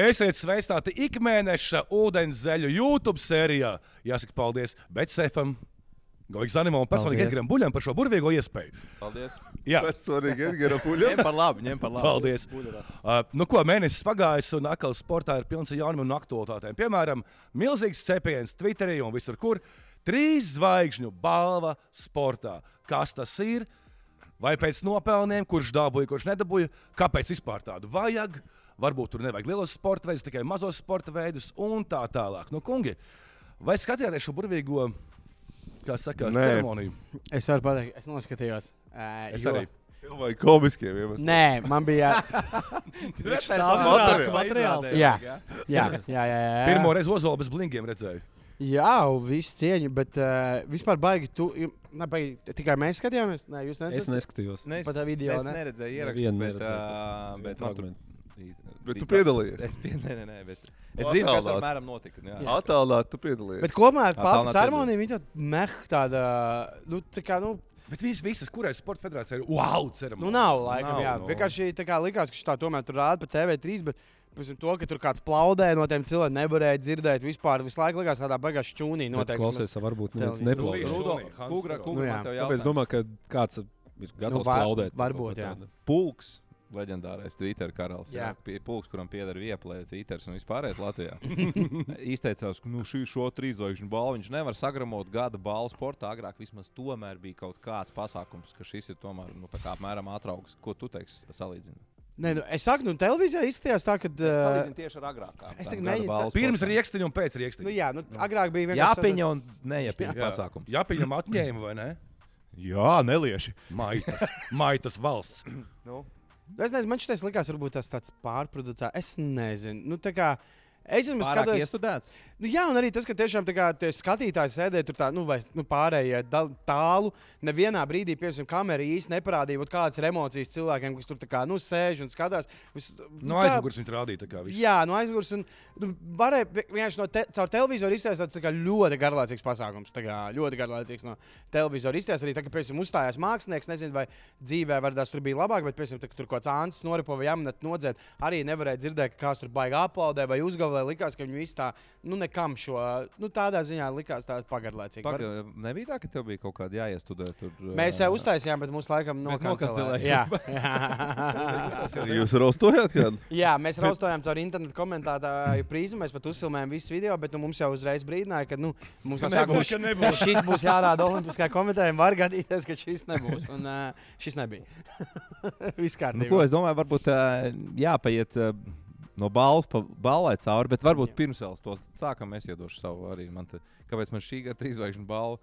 Esiet sveicināti ikmēneša ūdenzēļu YouTube sērijā. Jāsaka, paldies Betsefam, Goigs Zanimam un personīgi Paldies. Edgaram Buļam par šo burvīgo iespēju. Paldies. Jā. Personīgi, Edgars, Ņem apguļam. par labu, ņem par labu. Paldies! Uh, nu, ko mēnesis pagājis, un atkal sportā ir pilns ar jaunumiem un aktuālitātēm. Piemēram, milzīgs cepiens Twitterī un visur, kur trīs zvaigžņu balva sportā. Kas tas ir? Vai pēc nopelniem, kurš dabūja, kurš nedabūja, kāpēc vispār tādu vajag? Varbūt tur nevajag lielos sporta veidus, tikai mazos sporta veidus un tā tālāk. Nu, kungi, vai skatījāties šo burvīgo, kā saka, Nē. ceremoniju? Es varu pateikt, es noskatījos. Uh, Es arī. Vai komiskiem iemesliem? Nē, man bija. Reportāžu materiāls. jā, jā, jā, jā, jā. Pirmo reizi Ozola bez blinkiem redzēju. Jā, visu cieņu, bet uh, vispār baigi. Tu, ju- ne, baigi, tikai mēs skatījāmies. Nē, jūs Es neesat. neskatījos. Nu, Nē, Pa tā video, es ne? neredzēju Nevienu ierakstu, bet, neredzēju. uh, bet man tur tur Bet tu piedalījies. Es piedalījos. Nē, nē, bet es Attālāt. zinu, kas apmēram notika. nu Jā. Atālināti, tu piedalījies. Bet kopumā tā pati nav ceremonija bija tāda meh, tāda. Nu, tā kā, nu, Bet viņas visas, kurai sporta federācija ir wow, ceremonija. nu nav laikam. Nav, Nav, jā, nu. no. vienkārši tā kā likās, ka šī tā tomēr tur rāda pa TV3. Bet... Pēc to, ka tur kāds plaudē no tiem cilvēkiem, nevarēja dzirdēt vispār. Visu laiku likās tādā bagā šķūnī. Noteikti. Klausies, varbūt neviens televīzijas- bija neplaudē. šū- Rudo, Hans kungra, Rudo. Nu kungra, jā. man tev Tāpēc es jautājums. domāju, ka kāds ir gatavs nu, var- plaudēt. varbūt, jā. Pulks. Leģendārais Twitter karalis. Jā, Jā. jā pulks, kuram pieder vieplēja Twitter un vispārējais Latvijā. Izteicās, ka nu, šī, šo trīzvaigžņu balvu viņš nevar sagramot gada balvu sportā. Agrāk vismaz tomēr bija kaut kāds pasākums, ka šis ir tomēr nu, tā kā apmēram atraugs. Ko tu teiksi salīdzinot? Nē, nu, es saku, nu, televīzijā izskatījās tā, ka. Uh, Salīdzinot tieši ar agrākām. es tām tagad gada mēģinu- balvu Pirms sportā. rīkstiņa un pēc rīkstiņa. nu, jā, nu, agrāk bija vienkārši. Jāpiņa un neiepiņa Jā. pasākums. Jā, pieņem atņēmumu vai ne? Jā, nelieši. Maitas, maitas valsts. Nu, Es nezinu, man šis likās, varbūt tas tāds pārproducēts. Es nezinu, nu, tā kā. Es esmu Pārāk skatījis, iestudēts. nu, jā, un arī tas, ka tiešām tā kā tie skatītāji sēdēja tur tā, nu, vai nu, pārējie dal- tālu. Nevienā brīdī, piemēram, kamera īsti neparādīja, vot kādas ir emocijas cilvēkiem, kas tur tā kā, nu, sēž un skatās. Vis, Nu, No Nu, tā- aizmugures viņš rādīja. tā kā viss. Jā, no aizmugures. un, Nu, varēja vi- vienkārši no te, caur televizoru izteikt tāds tā kā ļoti garlaicīgs pasākums. tā Kā, ļoti garlaicīgs no televizora izteikt. Arī, tā, ka, piemēram, uzstājās mākslinieks, nezinu, vai dzīvē varbūt tur bija labāk, bet, piemēram, tā, ka tur kaut kāds ants noripo vai jāmnet nodzēt. Arī nevarēja dzirdēt, ka kāds tur baigā aplaudē vai uzgavilē. Likās, ka viņu īstā, nu, nekam šo, nu, tādā ziņā likās tāds pagarlaicīgs. Var... Paga, nebija tā, ka tev bija kaut kāda jāiestudē. Tur, eh, Mēs eh, jau uztaisījām, bet mums laikam Bet nokancelēja. nokancellēja. Jā, jā. Jūs raustojāt, kad? Jā, mēs raustojām caur internetu komentētāju prizmu. Mēs pat uzfilmējām visu video, bet nu, mums jau uzreiz brīdināja, ka nu, mums no sākuma Nebūs, ka nebūs. šis būs jārāda Olimpiskajā komitejā. Var gadīties, ka šis nebūs. Un uh, šis nebija. Nu, Viss ko kārtībā. es domāju, varbūt ā, jāpaiet ā, no balvas pa balvai cauri, bet varbūt Jā. pirms vēl to sākam, es iedošu savu arī. Man te, kāpēc man šī gada trīs zvaigžņu balva,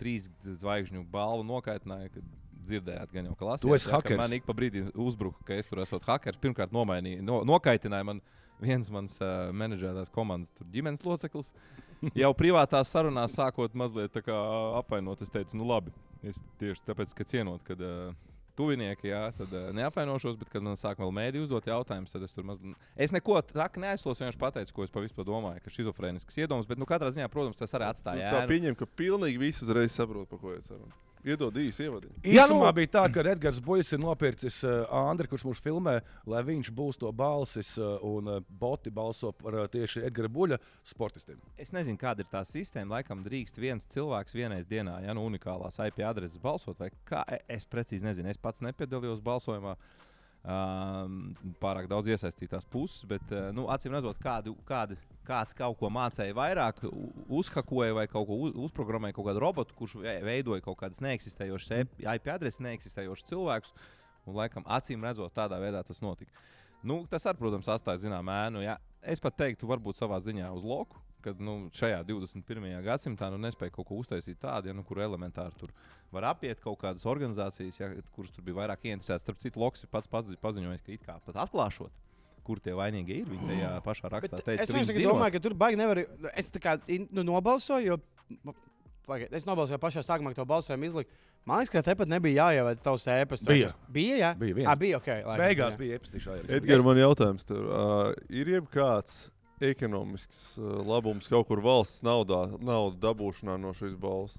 trīs zvaigžņu balva nokaitināja? Kad dzirdējāt, gan jau klasē. Tu esi hakers. Man ik pa brīdim uzbruka, ka es tur esmu hakers. Pirmkārt, nomainīja, no, nokaitināja man viens mans uh, menedžētās komandas tur ģimenes loceklis. Jau privātās sarunās sākot mazliet tā kā, ā, apvainot, es teicu, nu labi, es tieši tāpēc, ka cienot, kad uh, tuvinieki, jā, tad uh, neapvainošos, bet kad man sāk vēl mēdī uzdot jautājumus, tad es tur mazliet. Es neko traki neaizslos, vienkārši pateicu, ko es pa vispār domāju, ka šizofrēnisks iedoms, bet, nu, katrā ziņā, protams, tas arī Tā atstāja. ēnu. pieņem, ka pilnīgi visi uzreiz saprot, par ko ir saruna. Iedod īsi ievadu. Jā, Jā, nu, nu- bija tā, ka Edgars Bojas ir nopircis uh, Andru, kurš mums filmē, lai viņš būs to balsis uh, un uh, boti balso par uh, tieši Edgara Buļa sportistiem. Es nezinu, kāda ir tā sistēma. Laikam drīkst viens cilvēks vienā dienā, ja nu unikālās IP adreses balsot, vai kā. E- Es precīzi nezinu, es pats nepiedalījos balsojumā. Um, pārāk daudz iesaistītās puses, bet uh, nu, acīm redzot, kādu, kādu, kāds kaut ko mācīja vairāk, u- uzhakoja vai kaut ko u- uzprogrammēja, kaut kādu robotu, kurš ve- veidoja kaut kādas neeksistējošas e- IP adreses, neeksistējošas cilvēkus. Un, laikam, acīm redzot, tādā veidā tas notika. Nu, tas, ar, protams, atstāja zināmu ēnu. Jā. Es pat teiktu, varbūt savā ziņā uz loku, kad nu, šajā 21. gadsimtā nu, nespēja kaut ko uztaisīt tādu, ja, nu, kur elementāri tur var apiet kaut kādas organizācijas, ja, kuras tur bija vairāk ieinteresētas. Starp citu, Loks ir pats pats paziņojis, ka it kā pat atklāšot, kur tie vainīgi ir. Viņa tajā pašā Mm. Bet rakstā teica, Es ka viņi vienkārši zinot. domāju, ka tur baigi nevar. Es tā kā in- nu, nobalsoju, jo. Pagaid, es nobalsoju pašā sākumā, kad to balsojumu izliku. Man liekas, ka tepat nebija jāievada tavs ēpasts. vai Bija. kas- Bija, jā. Bija viens. Ah, bija, ok. laikam, Beigās jā. bija iepazīstināšā. Edgars, man jautājums tev. Uh, ir jebkāds ekonomisks uh, labums kaut kur valsts naudā, naudu dabūšanā no šīs balvas?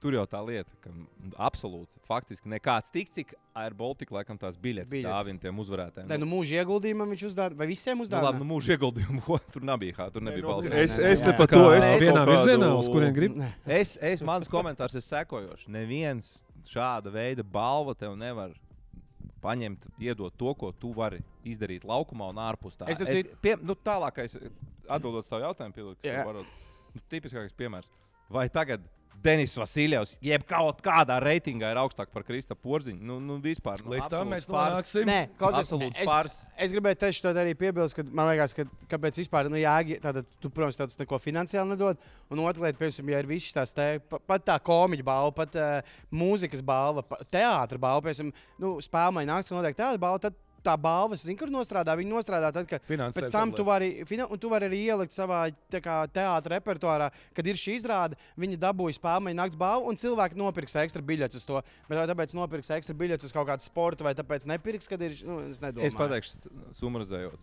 Tur jau tā lieta, ka mm, absolūti faktiski nekāds tik, cik ar Baltiku laikam tās biļetes Biļetes. dāvina tiem uzvarētājiem. Nē, nu mūža ieguldījumam viņš uzdāvināja. Vai visiem nu, labi, nu uzdāvināja? mūža ieguldījumu tur nebija. kā, Tur nebija balsts. Es, nē, nu, es nē. ne par Kā, to. Es par vienā kaut kādu- virzienā, uz kurien grib. Es, es, mans komentārs ir sekojošs. Neviens šāda veida balva tev nevar paņemt, iedot to, ko tu vari izdarīt laukumā un ārpus tā. Es tam citu- pie, nu, tālākais, atbildot uz tavu jautājumu, Pilip, kas Jā. tev varot, nu, tipiskākais piemērs. Vai tagad Denis Vasiljevs, jeb kaut kādā reitingā ir augstāk par Krista Porziņu? Nu, nu vispār. Nu, Līdz tam mēs absolūts pārs. nonāksim. Nē, klausies, Absolūts es- pārs. Es gribēju teikt, to arī piebilst, ka man liekas, ka kāpēc vispār, nu, jāgi, tātad, tu, protams, tev tas neko finansiāli nedod. Un otrā lieta, piemēram, ja ir visas tās te, pa- pat tā komiķa balva, pat uh, mūzikas balva, pa, teātris balva, piemēram, nu, spēlmai nāks un notiek tāda balva. Tad, Tā balva, zinu, kur nostrādā. Viņa nostrādā tad, kad Finansējums pēc tam tu atliek. vari, fina- un tu vari arī ielikt savā teātrī repertuārā, kad ir šī izrāde. Viņi dabūja spēļu, naktas balvu, un cilvēki nopirks ekstra biļetes uz to. Bet vai tāpēc nopirks ekstra biļetes uz kaut kādu sportu, vai tāpēc nepirks, kad ir. Nu, es nedomāju. Es pateikšu, summarizējot.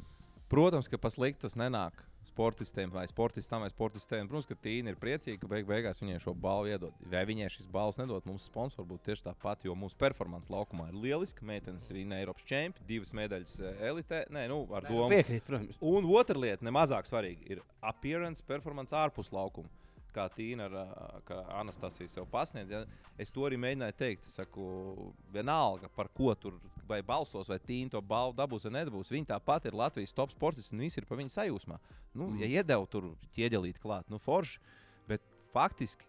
Protams, ka paslikt tas nenāk sportistiem vai sportistam vai sportistiem. Protams, ka Tīna ir priecīga, ka beig beigās viņai šo balvu iedod. Vai viņai šis balvas nedod, mums sponsori būtu tieši tāpat, jo mūsu performance laukumā ir lieliski. Meitenes viņa Eiropas čempions, divas medaļas eh, elitē. Nē, nu, ar domu. Piekrīt, protams. Un otra lieta, nemazāk svarīga, ir appearance, performance ārpus laukuma. Kā Tīna, ar, ā, kā Anastasija sev pasniedz, ja, es to arī mēģināju teikt. Es saku, vienalga, par ko tur vai balsos, vai Tīna to balvu dabūs vai nedabūs. Viņa tāpat ir Latvijas top sportists, un viss ir pa viņas sajūsmā. Nu, ja iedeva tur ķieģelīt klāt, nu forši, bet faktiski.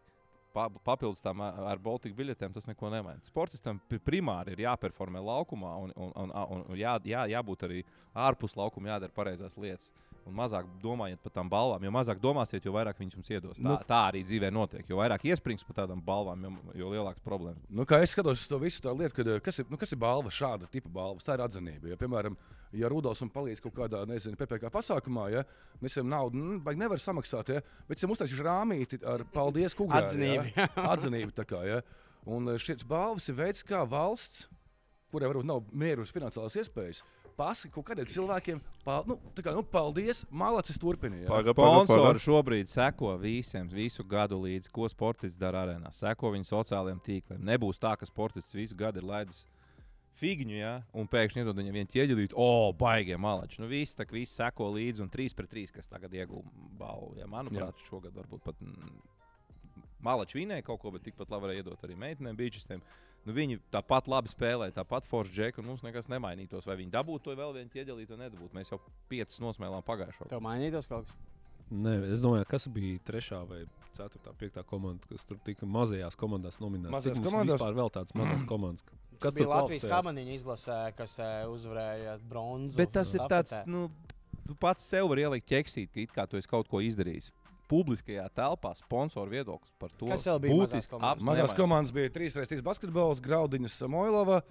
pa- Papildus tam ā, ar Baltiku biļetēm tas neko nemaina. Sportistam pi- primāri ir jāperformē laukumā un, un, un, un un jā, jā, jābūt arī ārpus laukuma jādara pareizās lietas. Un mazāk domājiet par tām balvām. Jo mazāk domāsiet, jo vairāk viņš jums iedos. Tā, nu, tā arī dzīvē notiek. Jo vairāk iesprings par tādām balvām, jo, jo lielākas problēmas. Nu, kā es skatos uz to visu, tā lieta, kad, eh, kas, ir, nu, kas ir balva, šāda tipa balva, tā ir atzinība. Ja, piemēram, ja Rudolfs man palīdz kaut kādā, nezinu, PPC pasākumā, ja mēs viņam naudu mm, baigi nevaram samaksāt, ja, bet viņam uztaisīšu rāmīti ar paldies kungam. Atzinību, Ja, atzinību tā kā. Ja. Un eh, šis balvas ir veids, kā valsts, kurai varbūt nav mierus finansiālās iespējas, pasaka kaut kādiem cilvēkiem, pal, nu, tā kā, nu, paldies, malacis turpiniet. Ja. Paga, paga, paga. Sponsori šobrīd seko visiem, visu gadu līdz, ko sportists dara arēnā. Seko viņu sociālajiem tīkliem. Nebūs tā, ka sportists visu gadu ir laidis figņu, ja, un pēkšņi iedod viņam vienu ķieģelīti, o, baigie malači. Nu, viss, tā, kā viss seko līdzi, un 3 pret 3, kas tagad iegūta balvu. Ja, manuprāt, jā. šogad varbūt pat mm, malači vinēja kaut ko, bet tikpat labi varēja iedot arī meitenēm, beidzistiem. Nu, viņi tāpat labi spēlē, tāpat forši džeku, un mums nekas nemainītos. Vai viņi dabūtu to vēl vienu ķieģelīti, vai nedabūtu. Mēs jau piecus nosmēlām pagājušajā gadā. Tev mainītos kaut kas. Nē, es domāju, kas bija trešā vai ceturtā, piektā komanda, kas tur tika mazajās komandās nominēta. Mazajās Cik mums komandās? vispār vēl tādas mazas komandas? Kas Tas bija tur Latvijas kvalificējās? kamaniņa izlasē, kas eh, uzvarēja bronzu. Bet tas ir tāds, stafetē. nu, tu pats sev vari ielikt ķeksīt, ka it kā tu esi kaut ko izdarījis. Publiskajā telpā sponsoru viedoklis par to Kas vēl bija mazās būtiski komandās? Mazās apzinājās. komandas bija 3x3 basketbols, Graudiņas Samoilova,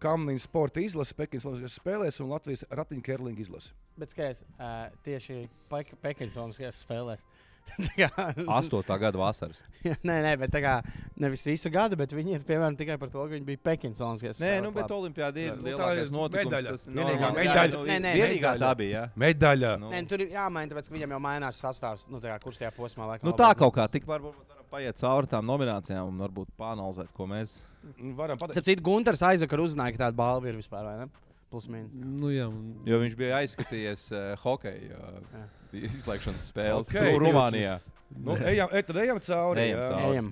Kamniņa sporta izlase, Pekinas Latvijas spēlēs un Latvijas ratiņķerlinga izlase. Bet skaties, eh, tieši Pek- Pekinsonas kas spēlēs. Tā kā- 8. gada vasaras. nē, nē, bet tā kā nevis visu gadu, bet viņi ir piemēram tikai par to, ka viņi bija Pekinsonas. Nē, nu, bet Olimpijāda ir Nu, tā lielākais ir notikums. medaļa. Tas ir Vienīgā medaļa. normāli. Jā, nu, Nē, nē, vienīgā medaļa. tā bija. jā. Medaļā! Nu. Nē, nu, tur ir jāmaina, tāpēc, ka viņam jau mainās sastāvs. Nu, tā kā, kurš tajā posmā laikam Nu, tā kaut kā tik varbūt varam paiet cauri tām nominācijām un varbūt panalizēt, ko mēs. Nu, Varam pateikt, Cits Gunters aizvakar uzzināja, ka tāda balva ir vispār, vai ne? Plus mīnus. Nu, jā, un... Jo viņš bija aizskatījies uh, hokeja uh, izslēgšanas spēles Okei, okay, Rumānijā. nu, ejam, e, tad ejam cauri. Ejam jā. cauri. Ejam.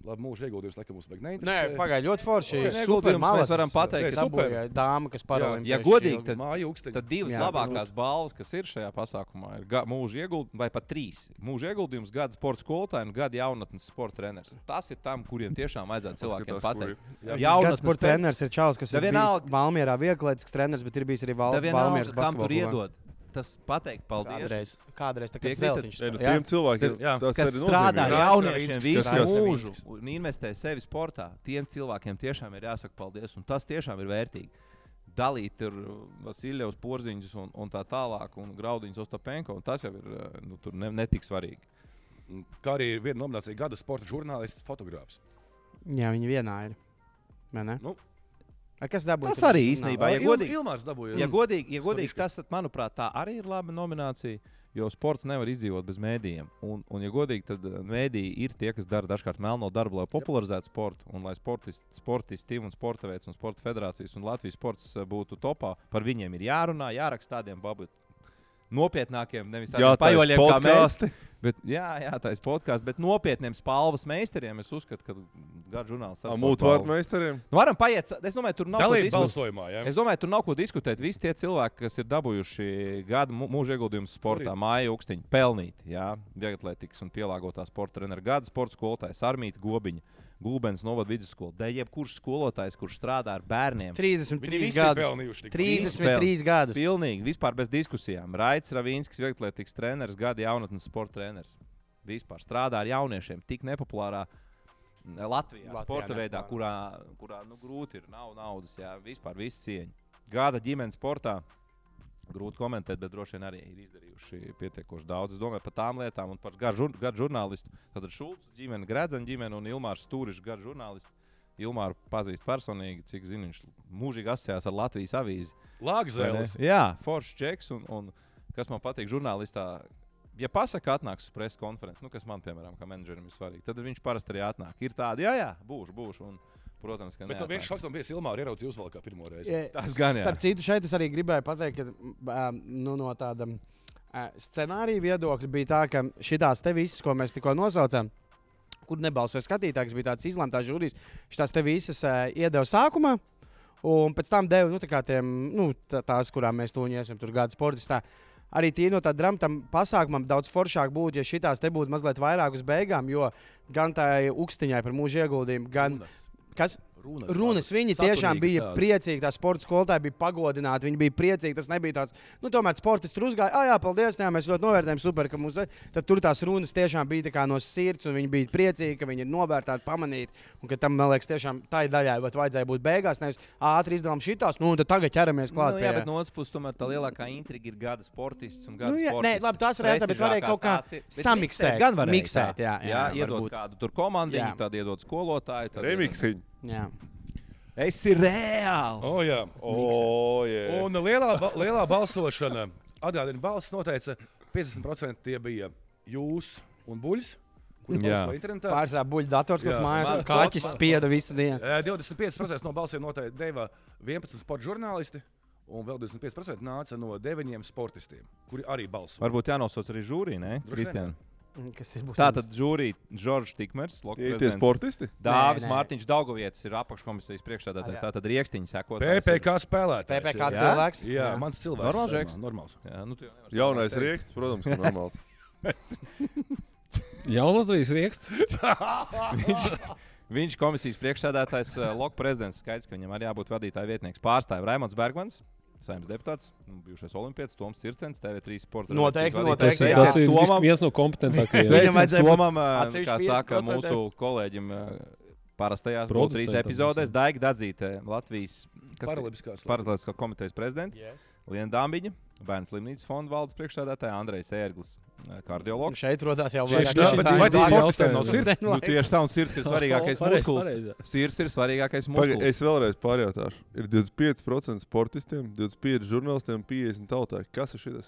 Labi, mūža ieguldījums, laikam, mums vajag Nē, neinteresē. pagaidi, ļoti forši. Ieguldījums Super, malas. mēs varam pateikt, ka- Dabūja dāma, kas paralēli. ja godīgi, tad- Māju augstāk. Tad divas Jā, Jā, labākās balvas, kas ir šajā pasākumā, ir ga- mūža ieguldījums, vai pat trīs. Mūža ieguldījums, gada sporta skolotāja un gada jaunatnes sporta treneris. Tas ir tam, kuriem tiešām vajadzētu cilvēkiem Paskatās, kur pateikt. Jā, Jaunais sports treneris ir Čāls, kas Da ir vienalga- bijis Valmjerā vieglaitis treneris, bet ir bijis arī Val Valmjeras Nevienam, kam tur basketbolā. iedod, tas pateikt paldies. Kādreiz, kādreiz tā kā Piekrītat? zeltiņš. Nē, nu, jā. Tiem cilvēkiem Jā, tas Kas arī strādā ar nozīmīgi. jauniešiem visu Kas- kas- mūžu un investē sevi sportā, tiem cilvēkiem tiešām ir jāsaka paldies, un tas tiešām ir vērtīgi. Dalīt ir Vasiljevs, Porziņš un, un tā tālāk, un Graudiņš Ostapenko, un tas jau ir eh, nu, tur ne, netik svarīgi. Kā arī ir viena nominācija gada sporta žurnālists, fotogrāfs. Jā, viņi vienā ir. Vai ne? Nu. Vai Kas dabūja? Tas arī īstenībā, ja Ilm- godīgi, Ilmārs dabūja. Ja godīgi, ja godīgi Slaviška. tas, manuprāt, tā arī ir laba nominācija. Jo sports nevar izdzīvot bez mēdījiem. Un, un ja godīgi, tad eh, mēdīji ir tie, kas dara dažkārt melno darbu, lai popularizētu sportu, un lai sportisti, sportisti un sporta veids un sporta federācijas un Latvijas sports eh, būtu topā. Par viņiem ir jārunā, jāraksta tādiem babu nopietnākiem, nevis tādiem pajoļiem, kā mēs. podkāsti. Bet, jā, jā tā ir podkāsts, bet nopietniem spalvas meistariem es uzskatu, ka gada žurnāls ar Mūtvārdu meistariem. Nu, varam paiet, sa- es domāju, tur nav ko Dalība diskutēt. balsojumā. Ja? Es domāju, tur nav ko diskutēt. Visi tie cilvēki, kas ir dabūjuši gada mū- mūža ieguldījumu sportā, māju augstiņu, pelnīti, jā, vieglatlētikas un pielāgotā sporta treneru gada, sporta skolotājs, armītas gobiņa, gulbens novada vidusskola. Dēļ jebkurš skolotājs, kurš strādā ar bērniem, 33 visi ir gadus. pelnījuši tik 33 gadus. Pilnīgi, vispār bez diskusijām. Raits Ravīnskis, vieglatlētīgs treneris, gada jaunatnes sporta treneris. Vispār strādā ar jauniešiem, tik nepopulārā n, Latvijā, Latvijā Latvijā sporta veidā, nepopulārā. kurā, kurā nu, grūti ir, nav naudas, jā, vispār viss cieņa. Gada ģimenes sportā. Grūti komentēt, bet droši vien arī ir izdarījuši pietiekoši daudz. Es domāju par tām lietām, un par gadu žur- gadu žurnālistu. Tad Šulcs ģimene, Gredzena ģimene un Ilmārs Stūrišs gadu žurnālists. Ilmāru pazīst personīgi, cik zinu, viņš mūžīgi asociējās ar Latvijas avīzi. Vai ne? Lāgzēlis. Jā, foršs čeks. Un, un kas man patīk, žurnālistā, ja pasakā, atnāks uz preses konferenci, nu, kas man, piemēram, kā menedžerim ir svarīgi, tad viņš parasti arī atnāk. Ir tādi, jā, jā, būšu, būšu. Un, protams, ka Bet tu neatnāk. vienkārši šoks man bija Ilmā, ieraudzīju uzvalkā pirmo reizi. Jā, Tas gan jā. Starp citu, šeit es arī gribēju pateikt, ka mm, nu, no tāda mm, scenārija viedokļa bija tā, ka šīs te visas, ko mēs tikko nosaucām, kur nebalsoja skatītājs, bija tāds izlemtā žūrijas, šīs te visas ā, iedeva sākumā. Un pēc tam devu nu, tā kā tiem, nu, tā- tās, kurām mēs tuvojamies, tur gada sportistā. Arī tīri no tā drāmata pasākumam daudz foršāk būtu, ja šīs te būtu mazliet vairāk uz beigām, jo gan tai ukstiņai par mūža ieguldījumu, gan. Kas? Runas, runas. Viņi tiešām bija tādas. priecīgi. Tā sporta skolotāja bija pagodināta. Viņi bija priecīgi. Tas nebija tāds, nu, tomēr sportists tur uzgāja. Ah, jā, paldies. Jā, mēs ļoti novērtējam, super, ka mums ir. Tad tur tās runas tiešām bija tā kā no sirds, un viņi bija priecīgi, ka viņi ir novērtēti, pamanīti. Un ka tam, man liekas, tiešām tai daļai vat vajadzēja būt beigās. Nevis ātri izdevām šitās, nu, un tad tagad ķeramies Nu, jā, klāt. pie- bet no otras puses, tomēr tā lielākā intriga ir gada sportists un gada Nu, jā, sportists. nē, labi, tās reizē, bet varēja kaut kā samiksēt, Gan varēja miksēt, jā, jā, jā, jā, iedot varbūt. kādu tur komandu, Jā. tad iedot skolotāju. tad iedod- Remiksiņi. Jā. Es esmu reāls! O, jā. O, jē. Un lielā, ba lielā balsošana, atgādini, balss noteica 50% tie bija jūs un buļs, kuriem Jā. balsoja internetā. Pārsvarā buļbuļdators, kas Jā. mājās Man- kaķis man- spieda visu dienu. Ē, 25% no balsīm noteikti deva 11 sporta žurnālisti, un vēl 25% nāca no 9 sportistiem, kuri arī balsoja. Varbūt jānosauc arī žūrī, ne? Droši vien. Kristian. Kas ir būs? Tā tad žūrī Džordžs Tikmers, Tie ir tie sportisti. Dāvis Nē, nē. Mārtiņš Daugovietis ir apakškomisijas priekšstādātājs. Jā. Tā tad rīkstiņa sekot. PPC spēlētājs. PPC jā. cilvēks. Jā, jā, mans cilvēks. Normāls žeks? Jā, normāls. Jā, nu, tu jau nevari Jaunais teikt. rieksts, protams, ka normāls. Jaunatvijas rieksts. Viņš komisijas priekšstādātājs, eh, Loka prezidents. Skaidrs, ka viņam arī jābūt vadītāja vietnieks. Pārstāvja Raimons Bergmans. Saimnes deputāts, nu, bijušais olimpietis, Toms Circens, TV3 sporta. Noteikti, redakcijas noteikti, Tas, vadītājs. ir- jā. tas ir Sveiciens vis- Tomam. viens no kompetentākajiem. Viņam Sveiciens vajadzēja būt Tomam, eh, atsevišķi kā saka 50%. mūsu kolēģim, eh, parastajās trīs Producentam epizodēs, visam. Daiga Dadzīte, Latvijas Paralimpiskās Paralēliskā komitejas prezidents. Yes. Lienu Dāmbiņu, Bērnu slimnīcas fonda valdes priekšstādātāja Andrejs Ērglis, Un kardiologs. šeit rodās jau Šeit vairāk. tā, bet vai tas sportistiem nav jautājums. sirds? Nu, tieši tā, un sirds ir svarīgākais Pareizi, muskulis. pareizi. Sirds ir svarīgākais Paga, muskulis. es vēlreiz pārjautāšu. Ir 25% sportistiem, 25% žurnālistiem, 50% tautai. Kas ir šis?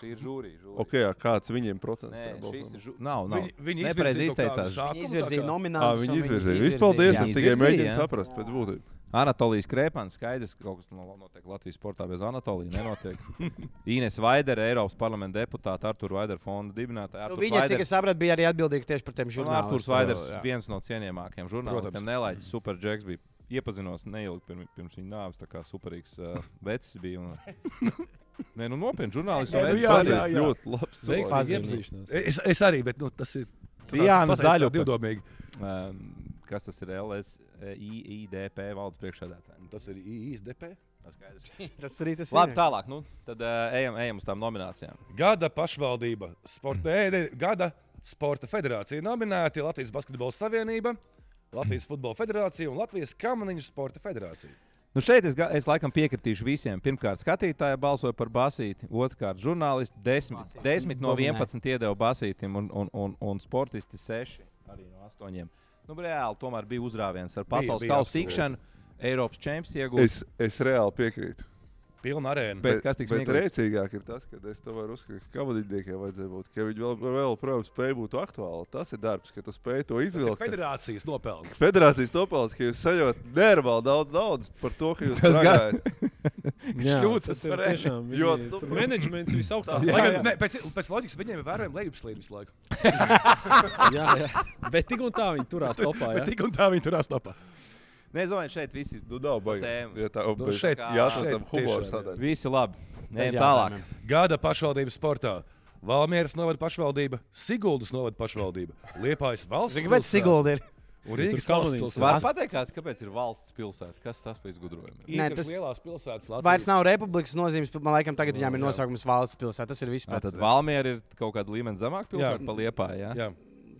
Šī ir žūrija. žūrija. Ok, jā, kāds viņiem procents? Nē, tajā balsojumā? šis ir žūrija. Nav, nav. Viņi, viņi Nepareizi izteicās. Sākumu, Izvirzīja Ā, nomināciju. Viņi izvirzīja. Viņš paldies. Nu, jā. Es tikai Izvirzīja, mēģinu jā. saprast pēc būtības. Anatolijas Krēpans, skaidrs, ka kaut kas no- notiek Latvijas sportā bez Anatolijas. Nenotiek. Ines Vaidere, Eiropas parlamenta deputāte, Artur Vaidere fonda dibinātāja. Nu, Arturs viņa, cik Vaiders- es sapratu, bija arī atbildīga tieši par tiem Un Arthurs žurnālistiem. Vaiders, Jā. viens no cienījamākajiem žurnālistiem, Protams. nelaiķis Superjacks bija. Iepazinos neilgi pirms, pirms viņa nāves, tā kā superīgs uh, vecs bija. Un... Nē, nu nopietni, žurnālists Nē, nu jau jā, ir. jā, jā. ļoti labs. cilvēks. Veiksmīgi Pazīmes. iepazīšanās. Es, es arī, bet nu, tas ir. Diana tas ir Zaļupa. divdomīgi. Ehm, Kas tas ir? E, LSIDP valdes priekšsēdētājs. Tas ir ISDP. Tas skaidrs. Tas arī tas Labi, ir. tālāk. Nu, tad uh, ejam, ejam uz tām nominācijām. Gada pašvaldība, sporta, nē, nē, gada sporta federācija nominēti Latvijas Basketbola Savienība, Latvijas Futbola Federācija un Latvijas Kamaniņu Sporta Federācija. Nu šeit es, ga- es laikam piekritīšu visiem. Pirmkārt, skatītāji balsoja par basīti, otrkārt, žurnālisti. Desmit, desmit no Dominē. 11 iedeva basītam, un, un, un, un sportisti seši arī no astoņiem. Nu, reāli tomēr bija uzrāviens ar pasaules bija kausa absolūti. tikšanu, Eiropas čempionu iegūšanu. Es, es reāli piekrītu. Pilna arēna. Bet kas tik bet smieklīgs? rēcīgāk ir tas, ka es tomēr uzskatu, ka kavadīniekiem vajadzēja būt, ka viņi vēl, vēl projām spēja būt aktuāli. Tas ir darbs, ka tu spēj to Tas ir izvilkt. ka- federācijas nopelns. Federācijas topāls, ka jūs sajūtat nervāli daudz naudas par to, ka jūs Tas gan- strādājat. Jā, šļūts tas ir atvarē. tiešām. Jo, viņi- nu- tur Menedžments visaugstākais. Lai gan, ne, Pēc, pēc loģikas viņiem ir vērojama lejupslīde visu laiku. jā, jā. Bet tik un tā viņi turās topā. Bet jā. tik un tā viņi tur astopā. Nē, es domāju, šeit viss ir Nu, nav baigi. Tēma. Ja tā Nu, bet- šeit- jā, tā šeit tam humora tiešām, sadaļa. Visi labi. Nē, Bez tālāk. jautājumiem. Gada pašvaldības sportā. Valmieras novada pašvaldība, Siguldas novada pašvaldība, Liepājas valsts Zini, Kāpēc Sigulda ir? un Rīgas Tur valsts kamanīns. pilsēta. Var pateikt, kāds- kāpēc ir valsts pilsēta? Kas tas par izgudrojumu? ir? Nē, Īpaši tas- lielās pilsētas Vairs Latvijas. nav republikas nozīmes, bet man liekas, tagad viņām ir nosaukums valsts pilsēta. Tas ir Jā, vispār. Nu, Tad Valmiera ir kaut kāda līmeņa zemāk pilsēta Jā. pa Liepāju, jā? Jā.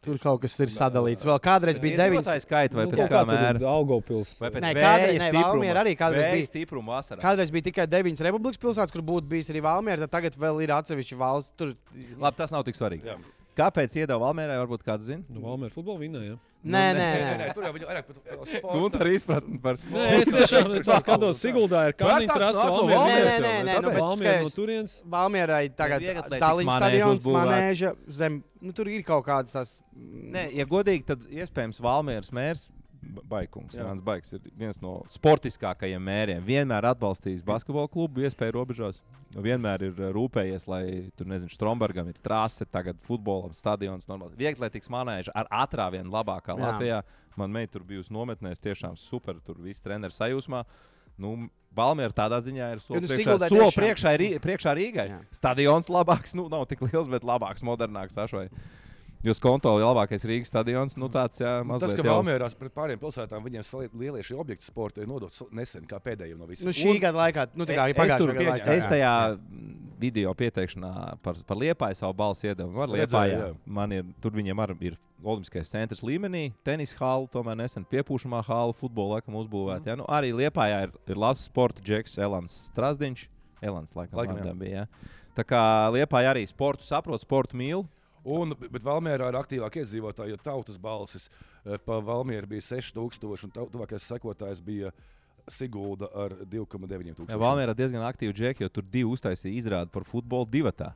Tur kaut kas ir sadalīts. Vēl kādreiz bija deviņas. Iedzīvotāju skaita vai Nu, pēc kaut kā tur ir mēra? Daugavpils. Vai pēc Nē, vēja kādreiz- nē, stipruma? Valmiera arī kādreiz Vēja bija. stipruma vasarā. Kādreiz bija tikai deviņas republikas pilsētas, kur būtu bijis arī Valmiera, tad tagad vēl ir atsevišķa valsts. Tur Labi, tas nav tik svarīgi. Jā. Kāpēc iedeva Valmierai, varbūt kāds zina? Nu, Valmēra futbolu vinnēja. Nu, nē, nē, Nē, nē. nē, tur jau viņi vairāk par par sportu. Gunta arī izpratne par Nē, sportu. es tiešām es tā skatos, Siguldā ir Vērtāks Kalniņa trasa, nāk no Valmiera. Valmieras trasa, jau, nē, nē, vai? nu, bet Valmiera no skaidrs. turienes. Valmierai tagad Viegli atletikas Tallinas manēžu stadions, uzbūvēt. manēža zem. Nu, tur ir kaut kādas tās. mm, Nē, ja godīgi, tad iespējams Valmieras mērs. Ba- Baikums, Jā. Jānis Baigs ir viens no sportiskākajiem mēriem. Vienmēr atbalstījis basketbalu klubu, iespēju robežās. Vienmēr ir eh, rūpējies, lai tur, nezinu, Strombergam ir trase, tagad futbolam stadions. Normāli. Viegli, lai tiks manēža ar atrāvienu labākā Jā. Latvijā. Man meita tur bijusi nometnēs, tiešām super, tur viss treneris sajūsmā. Nu, Balmēra tādā ziņā ir Jo, soli nu, priekšā, Siguldai soli tiešām- priekšā, Rī- priekšā Rīgai. Jā. Stadions labāks, nu, nav tik liels, bet labāks, modernāks. Ašvai. Jūs kontrolējat lielākais Rīgas stadions. Nu, tāds, jā, Nu, Tas, mazliet, ka jau. Valmjerās pret pāriem pilsētām viņiem sali- lielie šie objekti sporta ir nodots nesen kā pēdējo no visiem. Nu, šī gada laikā, nu, tā kā Es- es, tur, pagājušā gada pieņemu. laikā. es jā. tajā mm, video pieteikšanā par, par liepāju savu balsi iedevu. Man Redzēju, liepājā, jā. man ir, tur viņiem arī ir Olimpiskais centrs līmenī, tenisa hala, tomēr nesen piepūšamā hala, futbola laikam uzbūvēta. Ja? Nu, arī liepājā ir, ir labs sporta džeks, Elans Strasdiņš. Elans, laikam, Laikam, laikam bija. Ja? Tā kā liepājā arī sportu saprot, sportu mīl. Un, bet Valmjerā ir aktīvāk iedzīvotāji, jo tautas balsis eh, pa Valmjeru bija 6000 un tau- tuvākais sekotājs bija Sigulda ar 2,9 Jā, tūkstošiem. Valmērā diezgan aktīvi džeki, jo tur divi uztaisīja izrādi par futbolu divatā.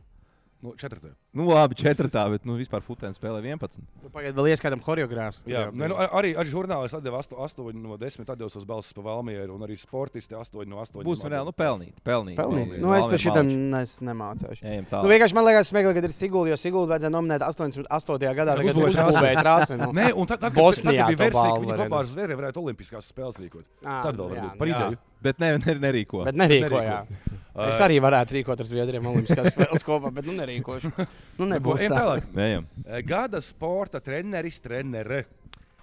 Nu, četrtā. Nu, labi, četrtā, bet nu, vispār futēns spēlē 11. Nu, Pagaidiet, vēl ieskatām choreogrāfus. Jā, Nē, nu, ar- arī, arī žurnālists atdeva 8 no 10 atdevusies balsis pa Valmjeru, un arī sportisti 8 no 8. Būsim reāli, nu, pelnīt. Pelnīt. Pelnīt. Nu, es par šo nemācīšu. Ejam Nu, tālāk. vienkārši man liekas, smieklīgi, ka ir Sigūda, jo Sigūda vajadzēja nominēt 88. gadā, Tagad kad uzbūvēja viņš uzbūvēja trasi. Nu. Nē, un tad, tad, kad- tad, Bosnijā tad bija to versija, ka balvu viņi arī, kopā nu. ar zvēriem varētu olimpiskās spēles rīkot. Ā, Tad vēl jā, varbūt nu, par jā. ideju. Bet ne, ne, nerīko. Bet nerīko, jā. Nerīko. Es arī varētu rīkot ar Zviedriem Olimpiskās spēles kopā, bet nu nerīkošu. Nu, nebūs Ejam tā. tālāk. Eh, Ejam. Gada sporta treneris, trenere.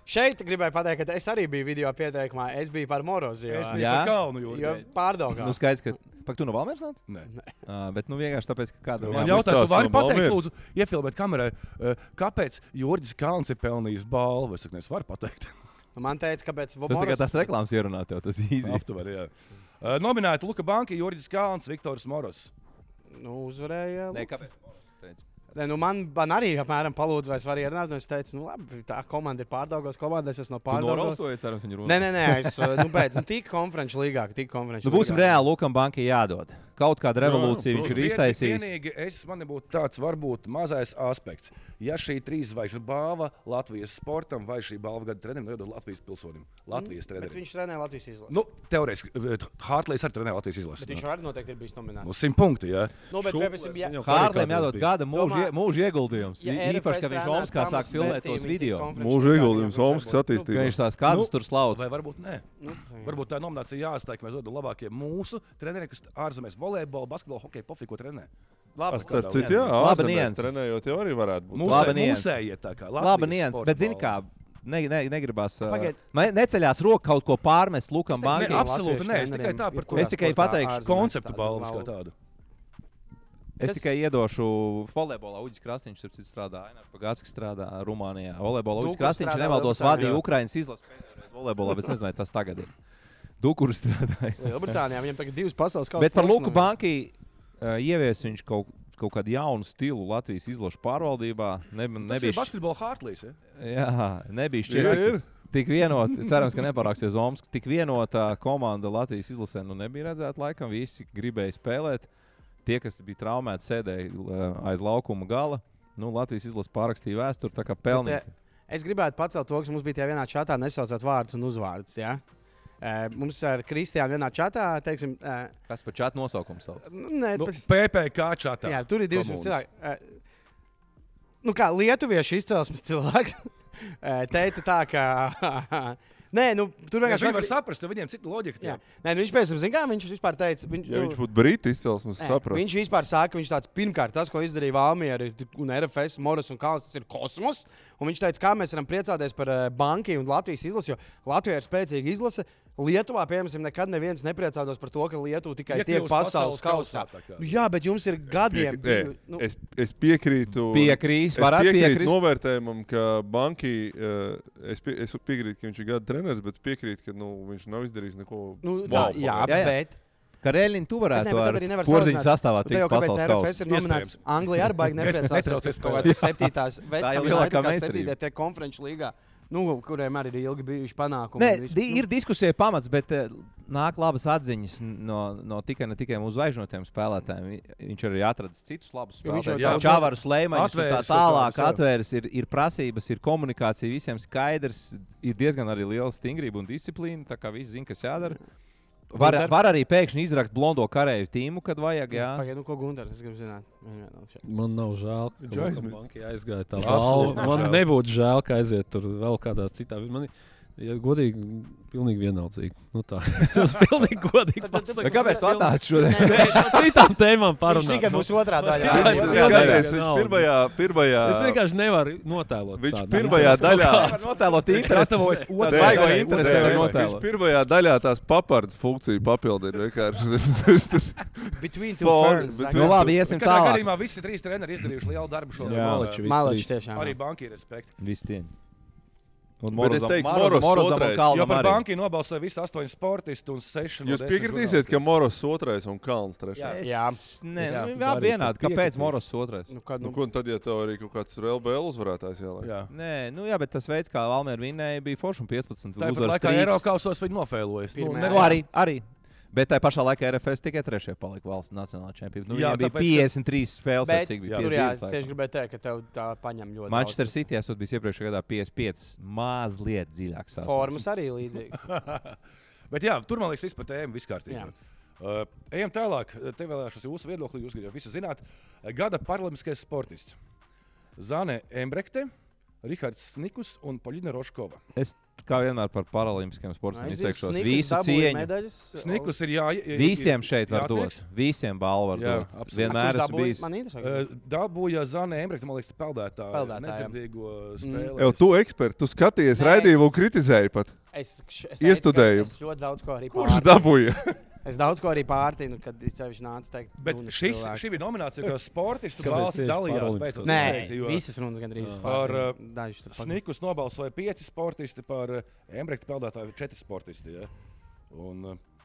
Šeit gribēju pateikt, ka es arī biju video pieteikumā. Es biju par Moroziju. Es biju Jā. par kalnu jūrā. Jo pārdomā. Nu, skaidrs, ka. Pak, tu no Valmēras nāc? Nē. Uh, bet nu vienkārši tāpēc, ka kādam Man jābūt- jau- jautā, stāsts tu vari no pateikt, Valmieras. lūdzu, iefilmēt kamerā, eh, kāpēc Jurģis Kalns ir pelnījis balvu? Es saku, "Nu, es varu pateikt. Nu, Man teica, kāpēc Tas tagad tas Moros... reklāmas ierunā tev, tas īsi. Aptuveni, jā. Eh, Nominēti Luka Banka, Jurģis Kalns, Viktors Moros. nu, uzvarēja. Nē, kāpēc? Nē, nu man, man arī apmēram palūdza, vai es varu ierunāt. un Es teicu, nu labi, tā komanda ir pārdaugos komandas, es no pārdaugos. Pārdaustojies, cerams, viņu runā. Nē, nē, nē, es uh, nu, beidzu. Nu, tik konferenču līgāk, tik konferenču. Nu, būsim līgāk. reāli, Lukam Bankai jādod. Kaut kāda revolūcija viņš ir Vien- iztaisījis. Vienīgi es man būtu tāds varbūt mazais aspekts. Ja šī trīs zvaigžņu balva Latvijas sportam vai šī balva gada trenerim jādod Latvijas pilsonim, Latvijas Mm. Bet trenerim. viņš trenē Latvijas izlasi. Nu, teorētiski, Hartlīs arī trenē Latvijas Bet viņš izlases. arī noteikti ir bijis nominēts. Nu, simt punkti, jā. Nu, bet, Šuplers, piemēram, ja, viņam Hārlēm kādreiz jādod bija. gada mūža Domā- ie- mūža ieguldījums. ja I- Īpaši, kad viņš Omskā sāk filmēt tos video. Mūža ieguldījums Omskas Ka attīstībā. viņš tās kādas Nu, tur slaudz. Vai varbūt ne? Varbūt tā nominācija jāizsaka, ka mēs dodam labākie mūsu treneri, kas ārzemēs volejbolu, basketbolu, hokeju, pofiku trenē. Labi, Starp citu, jā, Laba ārzemēs nianse. trenējot jau arī varētu būt. Mūsu Laba nianse. mūsējie tā kā Labi, Latvijas nians, sporta bet zini balva. kā, ne, ne, negribas. ā, Pagaid. Ne, neceļās roka kaut ko pārmest Lukam Ne, teiktu, Bankai. Bankai. ap- absolūti, nē, es Latviešu tikai tā treneriem par ir ko Es tikai sportā pateikšu ārzemēs konceptu tādu balvas kā balvu. tādu. Es tas- tikai iedošu volejbolā. Uģis Krasniņš, starp citu, strādā. Ainārs Pagātskis strādā Rumānijā. Volejbolā Uģis Dukurs Krasniņš, ja strādā nemaldos, Lielbritānijā. vadīja Ukrainas izlases pēdējoreiz volejbolā, bet es nezinu, vai tas tagad ir. Dukurs strādāja. Lielbritānijā viņam tagad divas pasaules kausa. Bet par Luku Banki uh, ievies viņš kaut, kaut kādu jaunu stilu Latvijas izlašu pārvaldībā. Ne, Nebija nebija, šķ... basketbola Hartlīs. Ja? jā, nebija Ir, šķiet. ir. Tik vienota, cerams, ka neparāksies Oms. Tik vienotā komanda Latvijas izlasē nu nebija redzēta. Laikam visi gribēja spēlēt. Tie, kas bija traumēti, sēdēja l- aiz laukuma gala. Nu, Latvijas izlase pārakstīja vēsturi, tā kā pelnīja. Bet, eh, Es gribētu pacelt to, kas mums bija tajā vienā čatā, nesaucot vārdus un uzvārdus. Ja? Eh, Mums ar Kristiānu vienā čatā, teiksim, eh, Kas par čatu nosaukumu sauc? nu, nē, Nu, pēc- PPC čatā. jā, tur ir 200 komunas. cilvēki. Eh, Nu, kā lietuviešu izcelsmes cilvēks eh, teica, tā ka. Nē, nu, tur Viņš vienkārši nevar saprast, jo viņiem cita loģika. Jā. tiek. Nē, nu, viņš pēc tam zina, kā viņš vispār teica. Viņš, Ja nu, viņš būtu brīti izcelsmes, Nē, saprastu. Viņš vispār saka, viņš tāds pirmkārt, tas, ko izdarīja Vālnības un RFS, Morris un Kalns, tas ir kosmos. Un viņš teica, kā mēs varam priecāties par eh, Banku un Latvijas izlasi, jo Latvija ir spēcīga izlase. Lietuvā, piemēram, nekad neviens nepriecātos par to, ka Lietuva tikai Iekļūst tiek pasaules pasaules kausā, kausā. tā kā. Nu, jā, bet jums ir Piek- gadiem. nē, biju- nu, es, es piekrītu. Piekrīst, Es varētu piekrītu piekrist. novērtējumam, ka Banki, uh, es, pie, es piekrītu, ka viņš ir gada treneris, bet es piekrītu, ka nu, viņš nav izdarījis neko nu, wow, tā, jā, jā, jā. bet. Karēliņš, tu Bet, ne, varētu bet tad ar arī nevar porziņu salīdzināt. sastāvā Nu, tā tikt jau kāpēc pasaules kausā. RFS ir nominēts Iespējams. Anglijā, arī baigi nepriecāties. Netraucēs Kaut kāds septītās lielākā veids, kā meistarība. septītā konferenču līgā, nu, kuriem arī ir ilgi bijuši panākumi. Nē, un viss. di ir diskusija pamats, bet eh, nāk labas atziņas no, no tikai ne tikai mūsu zvaigžņotiem spēlētājiem. Vi- Viņš arī atradis citus labus Jo viņš jau tā- spēlētājus. Jā, Čāvārs Leimanis un tā Atvēris to tālāk savu- atvērs, ir, ir prasības, ir komunikācija, visiem skaidrs, ir diezgan arī liela stingrība un disciplīna, tā kā visi zina, kas jādara. Var, Gunter? var arī pēkšņi izrakt blondo karēju tīmu, kad vajag. Jā. Pagaidiet, nu, ko Gunārs es gribu zināt. Viņa vēl šeit. Man nav žēl, ka Viņš Lukam aizmirst. Bankai aizgāja tā balva. Absolūti nav Man žēl. nebūtu žēl, ka aiziet tur vēl kādā citā. Man, ir- ja godīgi, pilnīgi vienaldzīgi. Nu tā, tas pilnīgi godīgi. Bet pasaka. Nu, Kāpēc tu atnāci šodien? Mēs par citām tēmām Viņš tikai parunājam. būs otrā daļa. nu. Jā, Viņš, jā, viņš, jā, jā, skaties, jā, viņš jā. pirmajā, pirmajā, Es vienkārši nevaru notēlot. viņš tādu. pirmajā daļā. Notēlot interesi. Gatavojas Tad otrajai Baigo daļai, interesi otrajai tev daļai. Viņš notēlot. pirmajā daļā tās papardas funkciju papildina. vienkārši. Between two Paul, ferns. bet- Nu labi, Bet iesim Katrā tālāk. gadījumā visi trīs treneri izdarījuši lielu darbu šodien. Jā, Un, Maliči eh, visi Maličs trīs. tiešām. Arī Arī banki ir respekti. Visi tie. Un Bet es Morozam- teiktu, Morozam- Moros Morozam un otrais. Kalnam Jo par arī. banki nobalsoja visi astoņi sportisti un seši no Jūs desmit piekritīsiet, ka žurnālistiem. Moros otrais un Kalns Jā, trešais. es- es- nē, Jā. nu, jā vienādi. Kāpēc Moros otrais? Nu, kad, Nu, nu, ko, un tad, ja tev arī kaut kāds tur LBL uzvarētājs ieliek? Jā. Nē, nu jā, bet tas veids, kā Valmiera vinēja, bija forši un 15. Tāpat uzvaras laikā trīks. Eiropausos viņi nofēlojas. Pirmajā. Nu, arī, arī. Bet tajā pašā laikā RFS tikai trešajā palika valsts nacionālajā čempionātā. Nu, Jā, jā, bija tāpēc, ka- 53 spēles, vai bet cik bija jā. tur jā, es 52 tieši laikam. gribēju teikt, ka tev tā paņem ļoti. Manchester City esot bijis iepriekšējā gadā 55, mazliet dziļāk daudz. sastāvs. Formas arī līdzīgas. Bet jā, tur man liekas, vispār tēma vispār kārtībā. Jā. Uh, ejam tālāk. Te vēlēšos jūsu viedokli, jūs gribat visu zināt. Gada paralimpiskais sportists Zane Embrekte, Rihards Snikus un Polina Roškova. Es kā vienmēr par paralimpiskiem sportiem izteikšos. Nu, Snikus Visu dabūja cieņu. medaļas. Snikus ir jā, ir- Visiem šeit jātiek. var dot. Visiem balvu var Jā, dot. absolūti. Vienmēr esmu bijis. Man Eh, interesē. Uh, Dabūja Zane Embrekte, man liekas, peldētāja. Peldētāja, jā. Nedzirdīgo spēlē. Jau tu eksperts, tu skaties Nē, es- raidījumu un kritizēji pat. Es, š- es Iestudēju. teicu, ka Es ļoti daudz ko arī Kurš pārtinu. dabūja? Es daudz ko arī pārtinu, kad viņš nāca teikt. Bet runas šis, cilvēku. šī bija nominācija, kurā sportistu Kāpēc balsis tieši dalījās. paralimpiskos? beidzot Nē, izteikti, jo- visas runas gandrīz Jā. Par, uh, pārtinu. Dažas tur pagājušas. Snikus nobalsoja pieci sportisti par eh, Embrekta peldētāju, četri sportisti. Ja? Un, eh,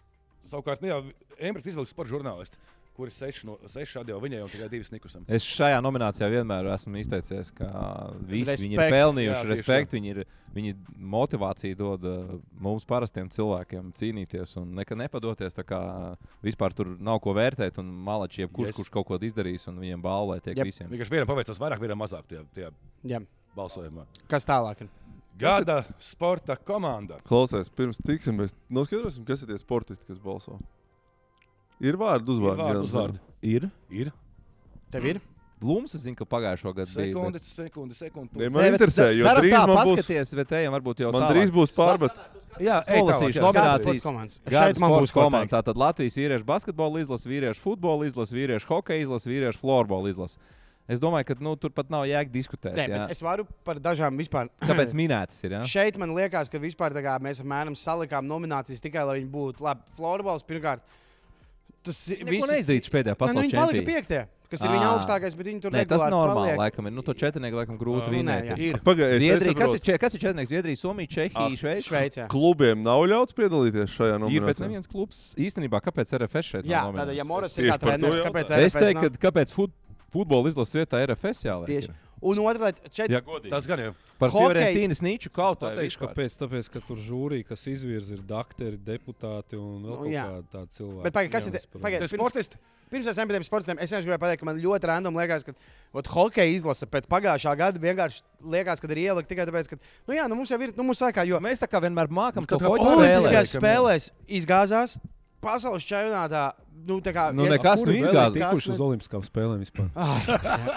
savukārt, nu, jā, Embrekta izvilks par žurnālistu, kurš seši no seši šādi jau viņai un tikai divi snikusam. Es šajā nominācijā vienmēr esmu izteicies, ka uh, visi viņi ir Respekt. pelnījuši Jā, jā, tieši respektu. Viņi, ir, viņi motivāciju dod uh, mums, parastiem cilvēkiem, cīnīties un nekad nepadoties. Tā kā uh, vispār tur nav ko vērtēt, un malači, jebkurš, Yes. yes. kurš kaut ko izdarīs, un viņiem balvai tiek yep. Jep. visiem. Vienkārši vienam paveicās vairāk, vienam mazāk tajā, tajā Jā. balsojumā. Kas tālāk? ir? Gada sporta komanda. Klausies, pirms tiksim, mēs noskaidrosim, kas ir tie sportisti, kas balso. Ir vārdu Ir uzvārdi. Vārdu uzvārdu. Ir. Ir. Tev ir? Blūms, es zinu, ka pagājušo gadu bija. Sekundes, sekundes, Nē, sekundes. man Nē, interesē, jo drīz tā, man būs, paskaties, bet ejam, varbūt jau man tālāk. drīz būs pārbaudas. Jā, ej tālāk, Nolasīšu jā. nominācijas. Kāds sports komandas? Gada Šeit man būs komanda. komanda. Tātad Latvijas vīriešu basketbola izlase, vīriešu futbola izlase, vīriešu hokeja izlase, vīriešu florbola izlase. Es domāju, ka nu, tur pat nav jēga diskutēt. Nē, jā. bet es varu par dažām vispār. Kāpēc minētas ir? Jā? Šeit man liekas, ka vispār tā kā mēs apmēram salikām nominācijas tikai, lai viņi būtu labi. Florbols pirmkārt, tas ir Viņš neizdarīja pēdējā Nē, nu, pasaules viņi palika čempionātā. piektie, kas ir viņa Ā. augstākais, bet viņi tur Nē, tas regulāri normāli. paliek. Laikam, ir. nu, to četrnieku laikam grūti Ah, uh, nu, nē, vinēt. jā. jā. Ir. Pagaidiet, Zviedrija, kas ir, čet, kas ir četrnieks? Zviedrija, Somija, Ah, Čehija, Šveice. Šveicē. Klubiem nav ļauts piedalīties šajā Ir, bet nominācijā. neviens klubs īstenībā, kāpēc RFS šeit? nav Jā, nominēts? tāda, ja Moras ir Tieši par kā to treneris, jautāju. kāpēc Es RFS teiktu, nav? ka kāpēc fut, futbola izlases vietā RFS jāliek? Tieši. ir? Un otrā lieta, šeit Ja godīgi. Tas gan jau. Par Hokej- Fiorentīnas niču kaut kā Pateikšu, kāpēc. Tāpēc, ka tur žūrija, kas izvirza, ir doktori, deputāti un vēl Nu, kaut jā. kādi tādi cilvēki. Bet pagaid, kas ir Jaunas te- par- pagaid. Tie pirms- sportisti. Pirms mēs bijām pie tiem sportiem, es vienkārši gribēju pateikt, ka man ļoti random liekas, ka ot, hokeja izlase pēc pagājušā gada vienkārši liekas, ka ir ielikt tikai tāpēc, ka, nu jā, nu mums jau ir, nu mums vajag, jo Mēs tā kā vienmēr mākam, ka Kaut kā Olimpiskajās Spēlē, spēlēs izgāzās pasaules čempionātā. Nu, tā kā Nu, es- nekas, Kuri nu, vēl izgāzi. ir tikuši uz Olimpiskām spēlēm vispār?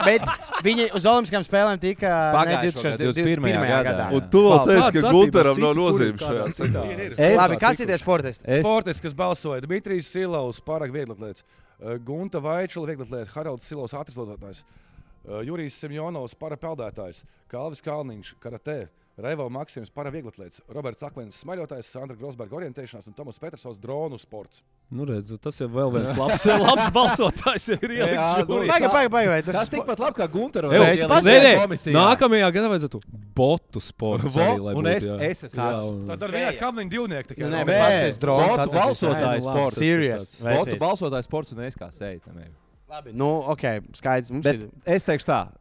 Bet viņi uz Olimpiskajām spēlēm tika ne, Pagājušo 24 gadu, 21. 21. gadā. Un tu vēl teici, Kā, kāds ka attiecības Gunteram nav citi, nozīmes kuri kādā šajā citā? sakarā. Ir, ir. Es- Labi, kas ir tie sportisti? Es- Sportisti, kas balsoja, Dmitrijs Silovs, pārāk vieglatlēts, uh, Gunta Vaičula, vieglatlēts, Haralds Silovs, atrisotājs, uh, Jurijs Simjonovs, parapeldētājs, Kalvis Kalniņš, karatē. Raivo Maksims, paravieglatlēts, Roberts Akmens, smaļotājs, Sandra Grosberga orientēšanās un Tomas Petersons, dronu sports. Nu, redz, tas jau vēl viens labs, labs balsotājs ir Jā, ielikt. nu, žūrijā. Pagaid, pagaid, pagaid. Tas tikpat labi kā Gunteram. Evo, Es nē, nē, komisijā. Nākamajā gadā vajadzētu botu sportu. Vo, un es- es esmu tāds. Nu, Tas ar vienu kameļu divnieku tikai Nu, nē, runā. bet pasties drones botu atceries. balsotāju Nē, nu, labi. sports. Serious. Botu balsotāju sports un es kā sēju. Labi, nu, ok, skaidrs. Mums Bet ir es teikšu tā.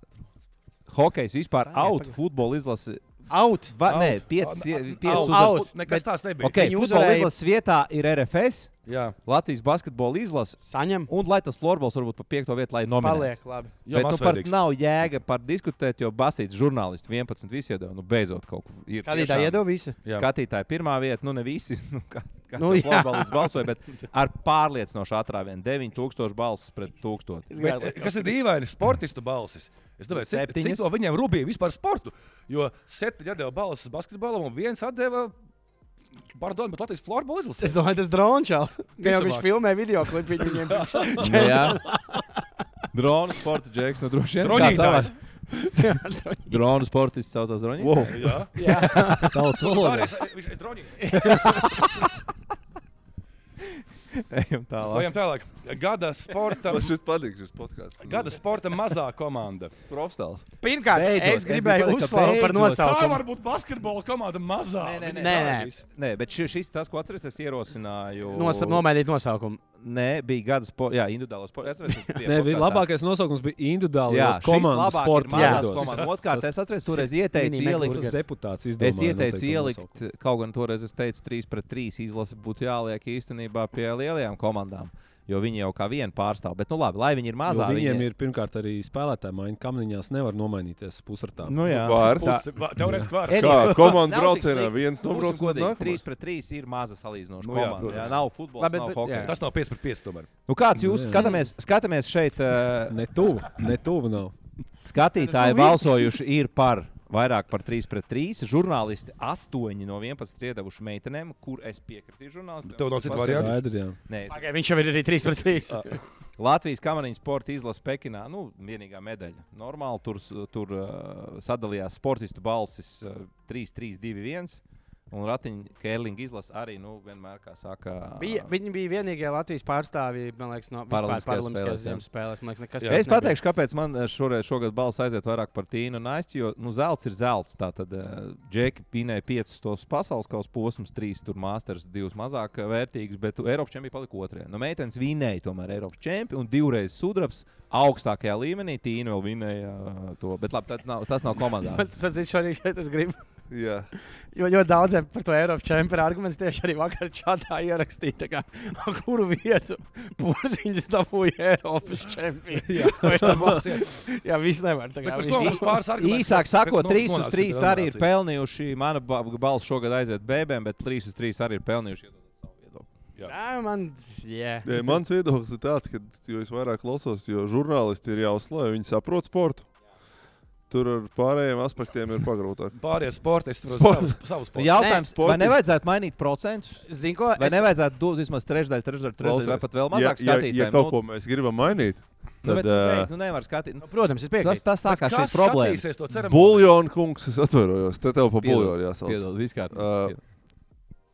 Hokejs vispār Pagaid, out pagaid. futbola izlase. out. Va, Out. nē, piecas, Out. piecas Out. uzvaras. Out. Nekas tāds nebija. Okay, Viņi futbola uzvarēja- izlases vietā ir RFS, Jā, Latvijas basketbola izlase. Saņem. Un lai tas floorbols varbūt pa piekto vietu, lai nominētu. Paliek, labi. jau Bet nu, par mazsvarīgs. nav jēga par diskutēt, jo basīts žurnālisti 11 visi iedod. Nu, beidzot kaut ko. ir Skatītāji tiešām- iedod visi. Jā. Skatītāji pirmā vieta, nu ne visi, nu, kā, kā Nu, nu, jā. futbolists balsoja, bet ar pārliecinošu atrāvienu 9000 balsis pret 1000. Es Bet, gribēju- kas ir dīvaini, sportistu balsis. Es domāju, cik, Septiņas. cik to viņiem rūpīgi vispār sportu. Jo septiņi atdeva balsis basketbolam, un viens atdeva Bardonu, bet Latvijas florbola Es izlases. domāju, tas drončāls. Kā jau Visabāk. viņš filmē video klipu viņiem. priekšā. Nu, jā. Drona sporta džeks, nu droši vien. kā Droņītājs. savās- Drona sportists saucās Droņi. Wow. Jā, Daudz Sorry, valodas. es- viņš ir droņš. Ejam tālāk. Vajam tālāk. Gada sporta, Man šis patīk, šis podkāsts. gada sporta mazā komanda. profesionāls. Pirmkārt, Beidzot, es es gribēju, gribēju ka uzslavēt par beidzot. Tā nosaukumu. var būt basketbola komanda mazā. nē, nē. nē, bet šis, šis tas, ko atceros, es ierosināju. Nosa- Nomainīt nosaukumu. Nē, bija gada sports, jā, individuālo sports. Es atceros, tas bija Nē, bija podkastā. labākais nosaukums bija individuālajās šis komandas labāk ir sporta mazās veidos. komandas. Otkārt, es atceros, toreiz mini ieteicu Tas ielikt. deputāts Es izdomāja. ieteicu noteikti ielikt, nosaukumu. kaut gan toreiz es teicu, 3 pret 3 izlase būtu jāliek īstenībā pie lielajām komandām, jo viņi jau kā viena pārstāv. Bet, nu labi, lai viņi ir Jo mazā, Viņiem viņi ir pirmkārt arī spēlētāji, maini kamniņās nevar nomainīties pusratā. Nu, jā. Var. Teorētiski var. Anyway, Kā komanda nav tik braucienā slikti. viens nobrauc Būsim un godīgi, nākamais. 3 pret 3 ir maza salīdzinoša Nu jā, komanda. Jā, protams. nav futbola, Labi, nav bet- jā. hokeja. Tas nav 5 pret 5 tomēr. Nu, kāds jūs Nu jā. skatāmies, skatāmies šeit? Uh, Ne tuvu, ne tuvu nav. Skatītāji balsojuši ir par vairāk par 3 pret 3. Žurnālisti 8 no 11 ir iedevuši meitenēm, kur es piekritīšu žurnālistiem. Tev nav citu Pasaka- variantu? Skaidri, jā. Nē, es- Pagaid, viņš jau ir arī 3 pret 3. Latvijas kamariņu sporta izlase Pekinā, nu, vienīgā medaļa. Normāli tur, s- tur uh, sadalījās sportistu balsis uh, 3, 3, 2, 1. Un ratiņa Kērlinga izlase arī, nu, vienmēr, kā saka, Bija, viņi bija vienīgie Latvijas pārstāvji, man liekas, no vispār Paralimpiskajās Paralimpiskajās spēlēs, jā. ziemas spēlēs. Man liekas, Es nekas cits nebija. pateikšu, kāpēc man eh, šoreiz, šogad balss aiziet vairāk par tīnu un aizķi, jo nu, zelts ir zelts. Tātad eh, Džeki pinēja piecus tos pasaules kausa posmus, trīs tur mākslinieks, divus mazāk eh, vērtīgus, bet tu Eiropas čempioni palika otrajā. Nu, meitenes vinēja tomēr Eiropas čempioni un divreiz sudrabs augstākajā līmenī. Tīna vēl vinēja eh, to, bet labi, tad nav, tas nav komandā. Man tas ir svarīgi, šeit es gribu. Jā. Jo ļoti daudziem par to Eiropas čempionu arguments tieši arī vakar čatā ierakstīja, tā kā, ar kuru vietu pūziņas dabūja Eiropas čempionu. jā, jā viss nevar. tā Bet kā par viss- to mums pāris argumentus. Īsāk sakot, Nu, 3 uz nonāksim 3 pie arī ir nominācijas. pelnījuši. Mana ba- balss šogad aiziet bēbēm, bet 3 uz 3 arī ir pelnījuši. iedot savu viedokli. Nā, man, jā. Jā, mans viedoklis ir tāds, ka jo es vairāk klausos, jo žurnālisti ir jāuzslavē, viņi saprot sportu. Tur ar pārējiem aspektiem ir pagrūtāk. Pārējie sportisti var savus savus sportus. Jautājums, vai sportisti- nevajadzētu mainīt procentus? Zinu, ko? Vai es- nevajadzētu dot vismaz trešdaļu, trešdaļu, trešdaļu vai pat vēl mazāk ja, skatīt? ja, ja kaut ko mēs gribam mainīt, nu, tad bet, uh, beidz, nu, nevar skatīt. Nu, Protams, es piekrītu. tas tas sākās šīs problēmas. skatīsies to ceremoniju? buļļonu kungs, es atveros, te tev pa Piedod, buļļonu jāsaka. Piedod, viss kārtībā. Uh,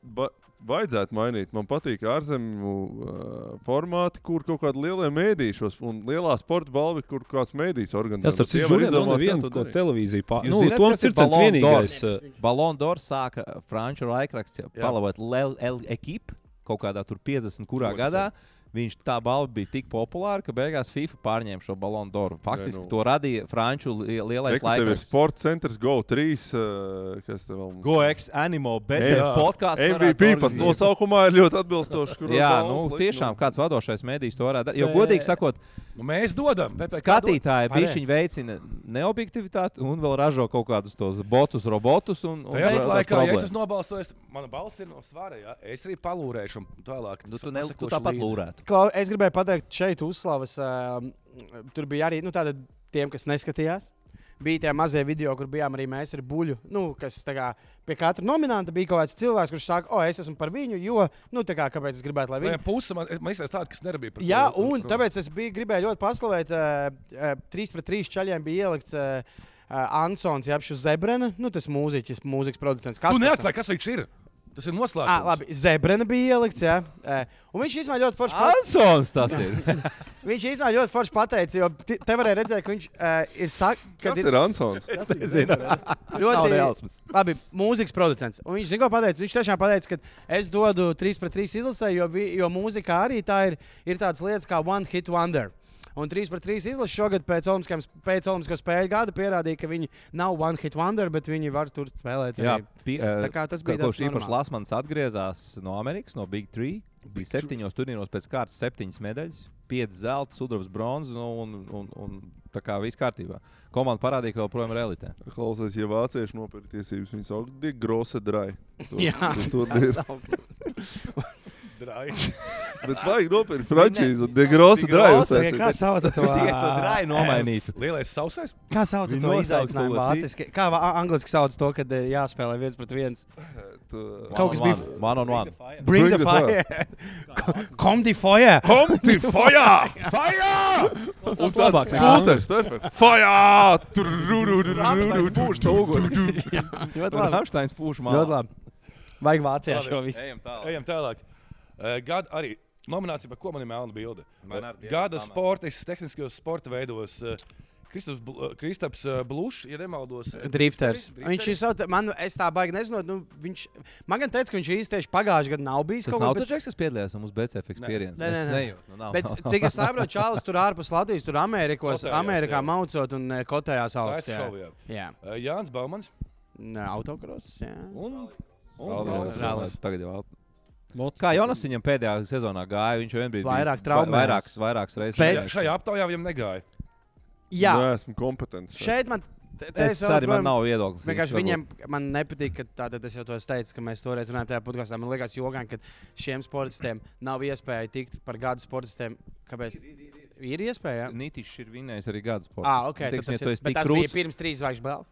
Ba Vajadzētu mainīt. Man patīk ārzemju uh, formāti, kur kaut kāda liela mēdīšos un lielā sporta balva, kur kāds mēdījis organizē. Tas ar Tie citu var žurnālu izdomāt, kā nav neviena, to ko darīt. televīzija pār... Jūs Nu, zināt, Toms kas ir eh, Circens Ballon d'Or? vienīgais. uh, Balonu dārza sāka uh, franču laikraksts, palabot LL ekipu kaut kādā tur 50. kurā Otrs, gadā. Viņš tā balva bija tik populāra, ka beigās FIFA pārņēma šo balonu dārbu. Faktiski Nē, nu. to radīja franču li lielais Reku, tev ir laikmets. sports centrs, Go 3. Uh, kas tev vēl? GoX Animal BC Jā. podkāsts. MVP pat nosaukumā ir ļoti atbilstošs. kur Jā, uz balvas nu, likt, tiešām kāds vadošais mēdījis to varētu darīt. Jo, godīgi sakot, Nu, mēs dodam, bet skatītāji Pareizi. bišķiņi veicina neobjektivitāti un vēl ražo kaut kādus tos botus, robotus. Un, un Tajā radās pat laikā, ja es problēmas. esmu nobalsojis, mana balss ir no svara. Ja? Es arī palūrēšu, un tālāk. Nu, tas tu, ne, tu pasekošu tāpat līdzi. lūrētu. Klau, es gribēju pateikt, šeit uzslavas, um, tur bija arī nu, tāda tiem, kas neskatījās. Bija tie mazie video, kur bijām arī mēs ar buļbuļu. Nu, kas tā kā pie katra nominanta bija kaut kāds cilvēks, kurš saka, o, es esmu par viņu, jo, nu, tā kā kāpēc es gribētu, lai viņi Viņam puse man, man izsaka, tāda, kas nebija. par Jā, ko- un par ko- tāpēc es biju, gribēju ļoti paslavēt. Uh, uh, 3 pret 3 čaļiem bija ielikts uh, uh, Ansons Japšu Zebrena, nu, tas mūziķis, mūzikas producents. Tu Kaspars. neatklāji, kas viņš ir. Tas ir noslēgts. Ā, Ah, labi, Zebrena bija ielikts, jā. Uh, un viņš īstenībā ļoti forši pateica. Ansons tas ir. Viņš īstenībā ļoti forši pateica, jo ti- te varēja redzēt, ka viņš uh, ir sakts, ka Kas ir Ansons? Es nezinu. Nav ļoti. nejausmas. Labi, mūzikas producents. Un viņš zina, ko pateica. Viņš tiešām pateica, ka es dodu 3 pret 3 izlasē, jo, vi- jo mūzika arī tā ir, ir tādas lietas kā One Hit Wonder. Un 3 pret 3 izlase šogad pēc Olimpiskajām sp- pēc Olimpisko spēļu gada pierādīja, ka viņi nav One Hit Wonder, bet viņi var tur spēlēt. Jā, Arī. pi, Tā uh, kā tas Ka- bija Kurš tāds īpaši normāls. Lasmans atgriezās no Amerikas, no Big Three. Bija septiņos turnīros pēc kārtas, septiņas medaļas, piecas zelta, sudraba bronzas nu, un, un, un tā kā viss kārtībā. Komanda parādīja, ka joprojām ir elite. Klausies, ja vācieši nopirka tiesības, viņi saka, ka grosa drai. Tur, Jā. tur, tur ir. Draigs. Bet vajag nopirkt frančīzi, un Die tie grosa drai. Grosse, uztaisīt. Kā sauc to? Tā ir nomainīta. Lielais sausais. Kā sauc Viņi to nosauc izaicinājumu to citu. vāciski? Kā vā- angliski sauc to, kad eh, jāspēlē viens pret viens? Tu- Kaut kas bija- Man un man. Bring, Bring the, the fire! Come the fire! Komti, fajā! Fajā! Uz Tas tādas labāks, jā. skūteres, perfekti. Fajā! Tur, ru, ru, ru, ru, ru, ru. Pūš to uguni. Ļoti labi. Ramsteins pūš Ļoti man. labi. Vajag Vācijā Labi. šo visu. Ejam tālāk. Ejam tālāk. Eh, Gada arī nominācija, par ko man ir melna bilde. Man ar dienu Gada tā melna. sportists tehniskajos sporta veidos. eh, Kristaps Bl- eh, Kristaps eh, Blušs, ja nemaldos. eh, drifteris? Drifters. Viņš ir savs, man es tā baigi nezinu. Nu, viņš man gan teica, ka viņš īsti tieši pagājušajā gadā nav bijis. Tas kaut nav kur, tas čeks, kas piedalījās mūsu BCF experience. Nē, nē, Es nē. nejūtu, nu, nav. bet, bet cik es saprotu, Čālijs tur ārpus Latvijas, tur Amerikos, Kotējās, Amerikā jā. maucot un eh, kotējās Tā ir augstā. Jā, šaujā. jā. Eh, Jānis Baumans. Nē, autokross. jā. Un, Rallis. un, tagad jau Mots- Kā Jonasiņam pēdējā sezonā gāja, viņš jau vien bija bija Vairāk vai- traumējās. vairākas, vairākas reizes. Bet- Ja Šajā aptaujā viņam negāja. Jā, Nē, esmu kompetents. šeit. šeit man. te- te es vēl arī man joprojām- nav viedoklis. Vienkārši Varbūt. viņiem man nepatīk, ka tātad es jau to teicu, ka mēs toreiz runājām tajā podkāstā. Man liekas, jogan, ka šiem sportistiem nav iespēja tikt par gadu sportistiem. Kāpēc? Ir iespēja. jā? Nītišs ir vinnējis arī gada sporta. Ah, ok. tad Nu, Teiks, Tas, ja tu ir, esi bet tik tas bija krūts pirms trīs zvaigžņu balvas.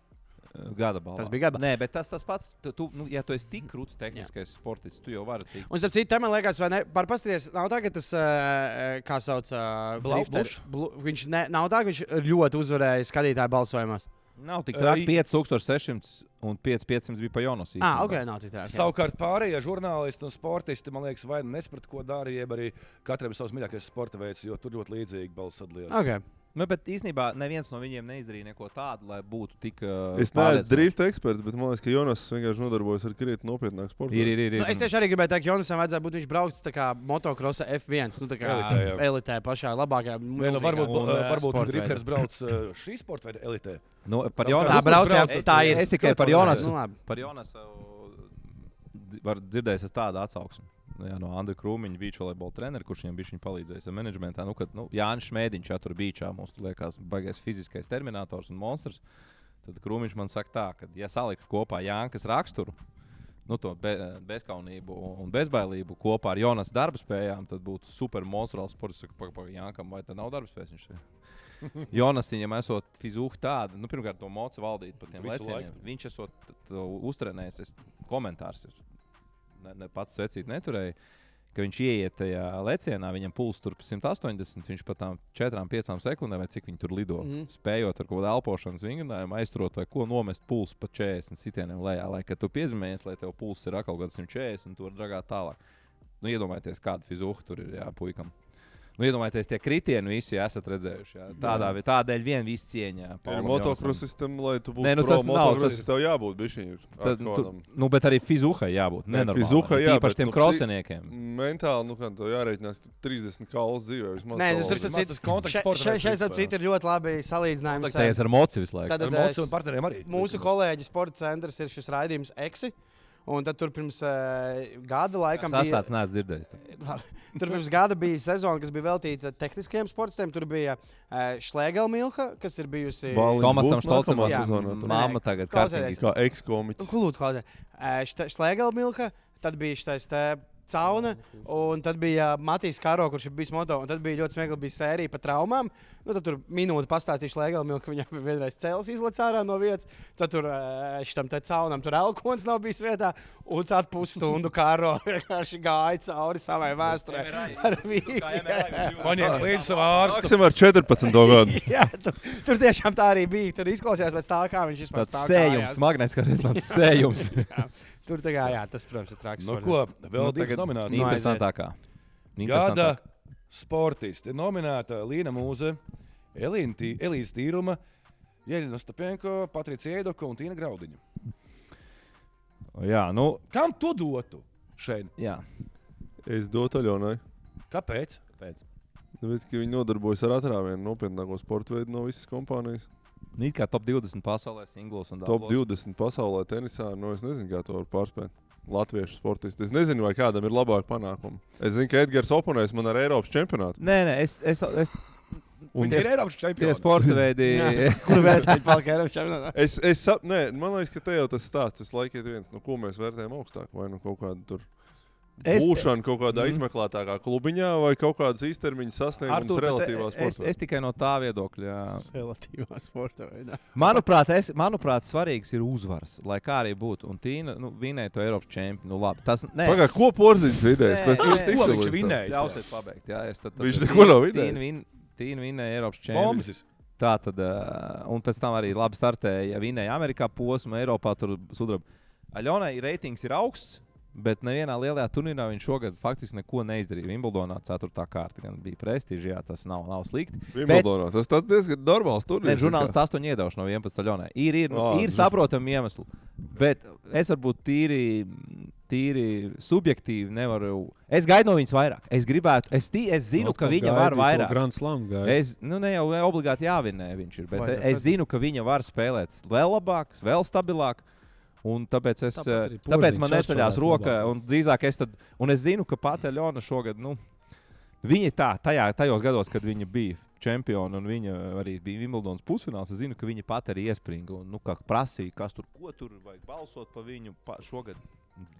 gada balvā. Tas bija gada Nē, bet tas, tas pats, tu, tu, nu, ja tu esi tik krūts tehniskais sportists, tu jau vari tikt. Un, starp citu, tam, man liekas, vai ne, par pasties, nav tā, ka tas, eh, kā sauc, eh, Blau- drifter- Bush? Blu- viņš ne, nav tā, ka viņš ļoti uzvarēja skatītāju balsojumos. Nav tik Ei. traki 5600 un 5500 bija pa Jonas. Ah, ok, nav tik tā. ok. Savukārt pārējie žurnālisti un sportisti, man liekas, vai nu nesaprata, ko dara, jeb arī katram savs mīļākais sporta veids, jo tur ļoti līdzīgi balss atliek. Ok. Nu, bet īsnībā neviens no viņiem neizdarīja neko tādu, lai būtu tik. Uh, Es neesmu drift eksperts, bet man liekas, ka Jonas vienkārši nodarbojas ar krietni nopietnāku sportu. Ir, ir, ir. ir. Nu, es tieši arī gribēju teikt, ka Jonasam vajadzēja būt, viņš brauc tā kā motocrossa F1, nu tā kā Elitē, jā. elitē pašā labākajā. Nē, nu, mūzīgā varbūt un, eh, eh, varbūt sporta drifters brauc eh, šī sporta veida elitē. nu, par Tā Jonas. Tā brauc, jā, brauc, tā ir. Es tikai par Jonasu. Nu, labi. Par Jonasu var dzirdēt tādu atsauksmi. Nu Jā, no Andrija Krūmiņa, bija volejbola treneris, kurš viņam bija palīdzējis ar menedžmentā. Nu, kad nu, Jānis Šmētiņš tur bija, mums tur liekas, baigais fiziskais terminators un monstrs. Tad Krūmiņš man saka, tā, ka, ja salikt kopā Jānis raksturu, nu, to be, bezkaunību un bezbailību kopā ar Jonas darbspējām, tad būtu supermonstruāls sports. Es saku, "Paga, paga, Jānkam, vai tas nav darbspējas? Viņš ir. Jonas viņam esot fizūhu tādu, nu, pirmkārt, to mocu valdīt pat tiem Visu lecieniem. laiku. Viņš esot t- to uztrenējis, es komentārs ir. Ne, ne pats secīt neturēju. Ka viņš ieiet tajā lecienā, viņam pulss tur pa 180, viņš pat tam 4-5 sekundēm, vai cik viņi tur lido, mm -hmm. Mhm. spējot ar kaut kādu elpošanas vingrinājumu, aizturot vai ko nomest pulsu pa 40 sitieniem lejā, lai kad tu piezīmējies, lai tev pulss ir atkal kaut kāds 140 un tu vari dragāt tālāk. Nu, iedomājieties, kāda fizūha tur ir jā, puikam. Nu, iedomājieties, tie kritieni visi jā, esat redzējuši. Jā. Tādā, vi- tādēļ vien viss cieņā. Ir Paulam Jonasanam. motokrosistam, lai tu būtu Nē, nu pro tas nav, motokrosis, tas- tev jābūt bišķiņš. Tad, tu, nu, bet arī fizuhai jābūt. Nē, Nē, fizuhai jā, Īpaši bet, tiem nu, psi- kroseniekiem. Mentāli, nu, kā tev jāreikinās, tu 30 kalus dzīvē vismaz. Nē, nu, savā tur laikā. tas ir tas kontakts sporta Šeit, veids ap vispār. citu, ir ļoti labi salīdzinājums. Kontaktējies ar moci visu laiku. Nu, Tad, Ar tad mūsu es- partneriem arī. Mūsu kolēģis sporta centrs ir šis raidījums EXI. Un tad tur pirms uh, gada laikam Tas bija. tāds neesmu dzirdējis. Labi. nu. Tur pirms gada bija sezona, kas bija veltīta tehniskiem sportiem. Tur bija uh, Šlēgelmilka, kas ir bijusi. Baliņš Tomasam būs nākamā Stolcamam Jā. sezonā, Mm. tur? Māma tagad Klausieties. kārtīgi. Kā ekskomiķis. Nu, Lūdzu, klausies. Šlēgelmilka, tad bija šis te. Cauna, un tad bija Matīs Karo, kurš ir bijis moto. un Tad bija ļoti smieklīgi, bija sērija par traumām. Nu, tad tur minūte pastāstīšu Lēgalam, ka viņam vienreiz cēlās izlaists ārā no vietas. Tad tur eh, šitam te caunam tur elkons nav bijis vietā. Un tad pusstundu Karo vienkārši gāja cauri savai vēsturē. Ar vīzi. Paņēmis "Nu, līdzi savu ārstu. Sāksim ar 14. gadu. Jā, tur, tur tiešām tā arī bija. Tur izklausījās pēc tā, kā viņš vispār Tāds stāv sējums, kājās. smagnēs, kā restorāns sējums. Tur tā kā, jā, tas, protams, ir traks. Nu, soļos. ko, vēl divas tagad nu, nominācijas. Interesantākā. Gada Interesantākā. sportisti nominēta Līna Mūze, Elīna Tī- Elīze Tīruma, Jēlina Stapenko, Patricija Eidoka un Tīna Graudiņa. Jā, nu, Kam tu dotu šeit? jā. Es dotu Aļonai. Kāpēc? Pēc. Tāpēc, ka viņi nodarbojas ar atrāvienu nopietnāko sporta veidu no visas kompānijas. Nu, it kā top 20 pasaulē, singlos un Top dablos. 20 pasaulē tenisā, no es nezinu, kā to var pārspēt. Latviešu sportisti. Es nezinu, vai kādam ir labāk panākumi. Es zinu, ka Edgars oponēs man ar Eiropas čempionātu. Nē, nē, es, es, es Un Nu, Un tie ir Eiropas tie čempioni. sporta veidi. Kur vērtēt palika Eiropas čempionātā? es, es sap, nē, man liekas, ka te jau tas stāsts visu laiku ir viens, no ko mēs vērtējam augstāk. Vai nu kaut kāda tur Es- būšana kaut kādā mm. izmeklētākā klubiņā, vai kaut kādas īstermiņa sasniegums Artūr, bet relatīvā es, sportā. es tikai no tā viedokļa. jā. Relatīvā sporta veidā. Manuprāt, es, manuprāt, svarīgs ir uzvars, lai kā arī būtu. Un Tīna nu, vinēja to Eiropas čempionu. Nu, labi, tas nē, Pagaidā, ko porzīts vidējais? Nē, Pēc tam nē. tiks Ko viņš līdz tam. vinēja? ļausiet pabeigt. Jā, es tad, tad, Viņš tad neko nav Tīna- vinējis. Tīna vin- Tīna vinēja Eiropas čempionu. Bombas. Tā tad, uh, un pēc tam arī labi startēja. Vinēja Amerikā posmu, Eiropā tur sudraba. Aļonai reitings ir augsts. Bet nevienā lielajā turnīrā viņš šogad faktiski neko neizdarīja. Vimbldonā 4. kārta gan bija prestižā, jā, tas nav, nav slikti. Bet- Vimbldonā. Tas tas diezgan normāls Nē, turnīrs. žurnālists astoņi iedauž no 11. ļaunē. Ir, ir, Ā, oh, ir nu. saprotami iemesli. Bet es varbūt tīri, tīri subjektīvi nevaru. Es gaidu no viņas vairāk. Es gribētu, es, tī, es Nu, zinu, ka viņa var vairāk. Grand Slam gāja. Es nu, ne jau obligāti jāvinē viņš ir, bet Vajadzētu es zinu, ka viņa var spēlēt vēl labāk, vēl stabilāk. Un tāpēc, es, Tāpat arī tāpēc, tāpēc Porziņš man arī neceļās spēlētu roka. labāk. Un drīzāk es, tad, un es zinu, ka Pāta Leona šogad, nu, viņa tā, tajā, tajos gados, kad viņa bija čempiona un viņa arī bija Vimbldons pusfināls, es zinu, ka viņa pat arī iespringa. Un, nu, kā prasīja, kas tur, ko tur vajag balsot par viņu pa, šogad.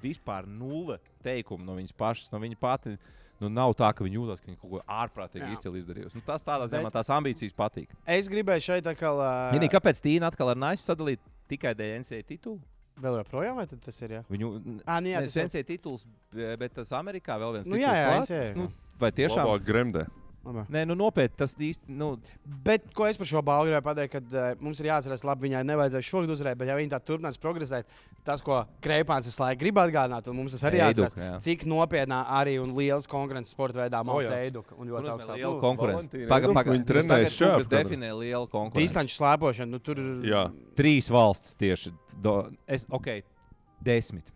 Vispār nulle teikumu no viņas pašas, no viņa pati. Nu, nav tā, ka viņa jūtas, ka viņa kaut ko ārprātīgi Jā. izcili izdarījusi. Nu, tas tādā ziņā Bet- man tās ambīcijas patīk. Es gribēju šeit atkal. ā, Vienīgi, kāpēc Tīna atkal ar Naisu sadalīt tikai dēļ NCA titulu? Vēl joprojām, vai tad tas ir? Jā, Viņu à, nu, jā tas tas ir. NCA tituls, b- bet tas Amerikā vēl viens. Nu, tituls jā, jā, klāt. NCAA, jā. Nu, vai tiešām? Labāk gremdē. Labi. Nē, nu nopietni, tas īsti. Nu, Bet ko es par šo balvu gribēju pateikt, kad uh, mums ir jāatcerās, labi, viņai nevajadzēja šogad uzvarēt, bet ja viņa tā turpinās progresēt, tas, ko Kreipāns visu laiku grib atgādināt, un mums tas arī Eiduka, jāatcerās, jā. cik nopietnā arī un liels konkurences sporta veidā mums jā. ir eiduka un ļoti augsts liela konkurence. Valentīna Pagaid, Eiduka, pagaid. viņa Jūs trenējas tagad šajā Google programmā. Definē lielu konkurenci. Distanču slēpošana, nu tur Jā. Trīs valsts tieši. Do, es, ok, desmit.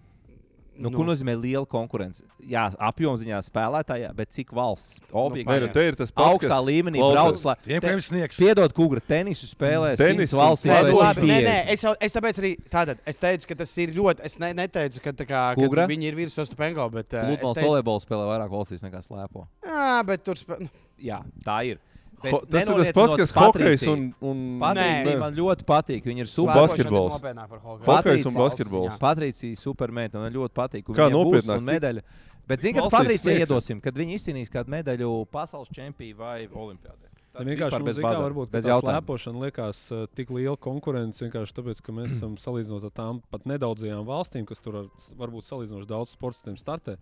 Nu, nu. Ko nozīmē liela konkurence? Jā, apjomziņā spēlētājā, bet cik valsts Nē, nu, objektīvi? te ir tas pats, augstā kas- līmenī Klausies. brauc. lai- Tiem, te- kuriem sniegs. Piedod, kungra, tenisu spēlē. Tenis Tenis valsts un Nē, Vai nu, tas labi, nē, pieeja? nē, es, jau, es tāpēc arī tātad, es teicu, ka tas ir ļoti. Es ne, neteicu, ka, tā kā, ka Kugra? viņi ir virs Ostopenko, bet. eh, es Pludmales teicu- volejbola spēlē vairāk valstīs nekā slēpo. Jā, bet tur nu, spēlē. Jā, tā ir. Bet Ho- Tas ir tas nenoliedzinot pats, kas hokejs Patriciju. un, un Patricija Nē. man ļoti patīk. Viņa ir super. Slēpošana ir basketbols. Hokeja. Hokeja. hokejs un Patricija. basketbols. Patricija supermeita man ļoti patīk. un Kā viņai būs nopietnāk? un medaļa. Bet, zinām, kad valstīs Patricija sniegsim. iedosim, kad viņi izcīnīs kādu medaļu pasaules čempionā vai olimpiādē. Tā vienkārši vispār bez bez bazēm, bazām. bez Varbūt bez tā jautājuma. slēpošana liekas uh, tik liela konkurence vienkārši tāpēc, ka mēs esam salīdzinot ar tām pat nedaudzajām valstīm, kas tur ar, s- varbūt salīdzinoši daudz sportistiem startē.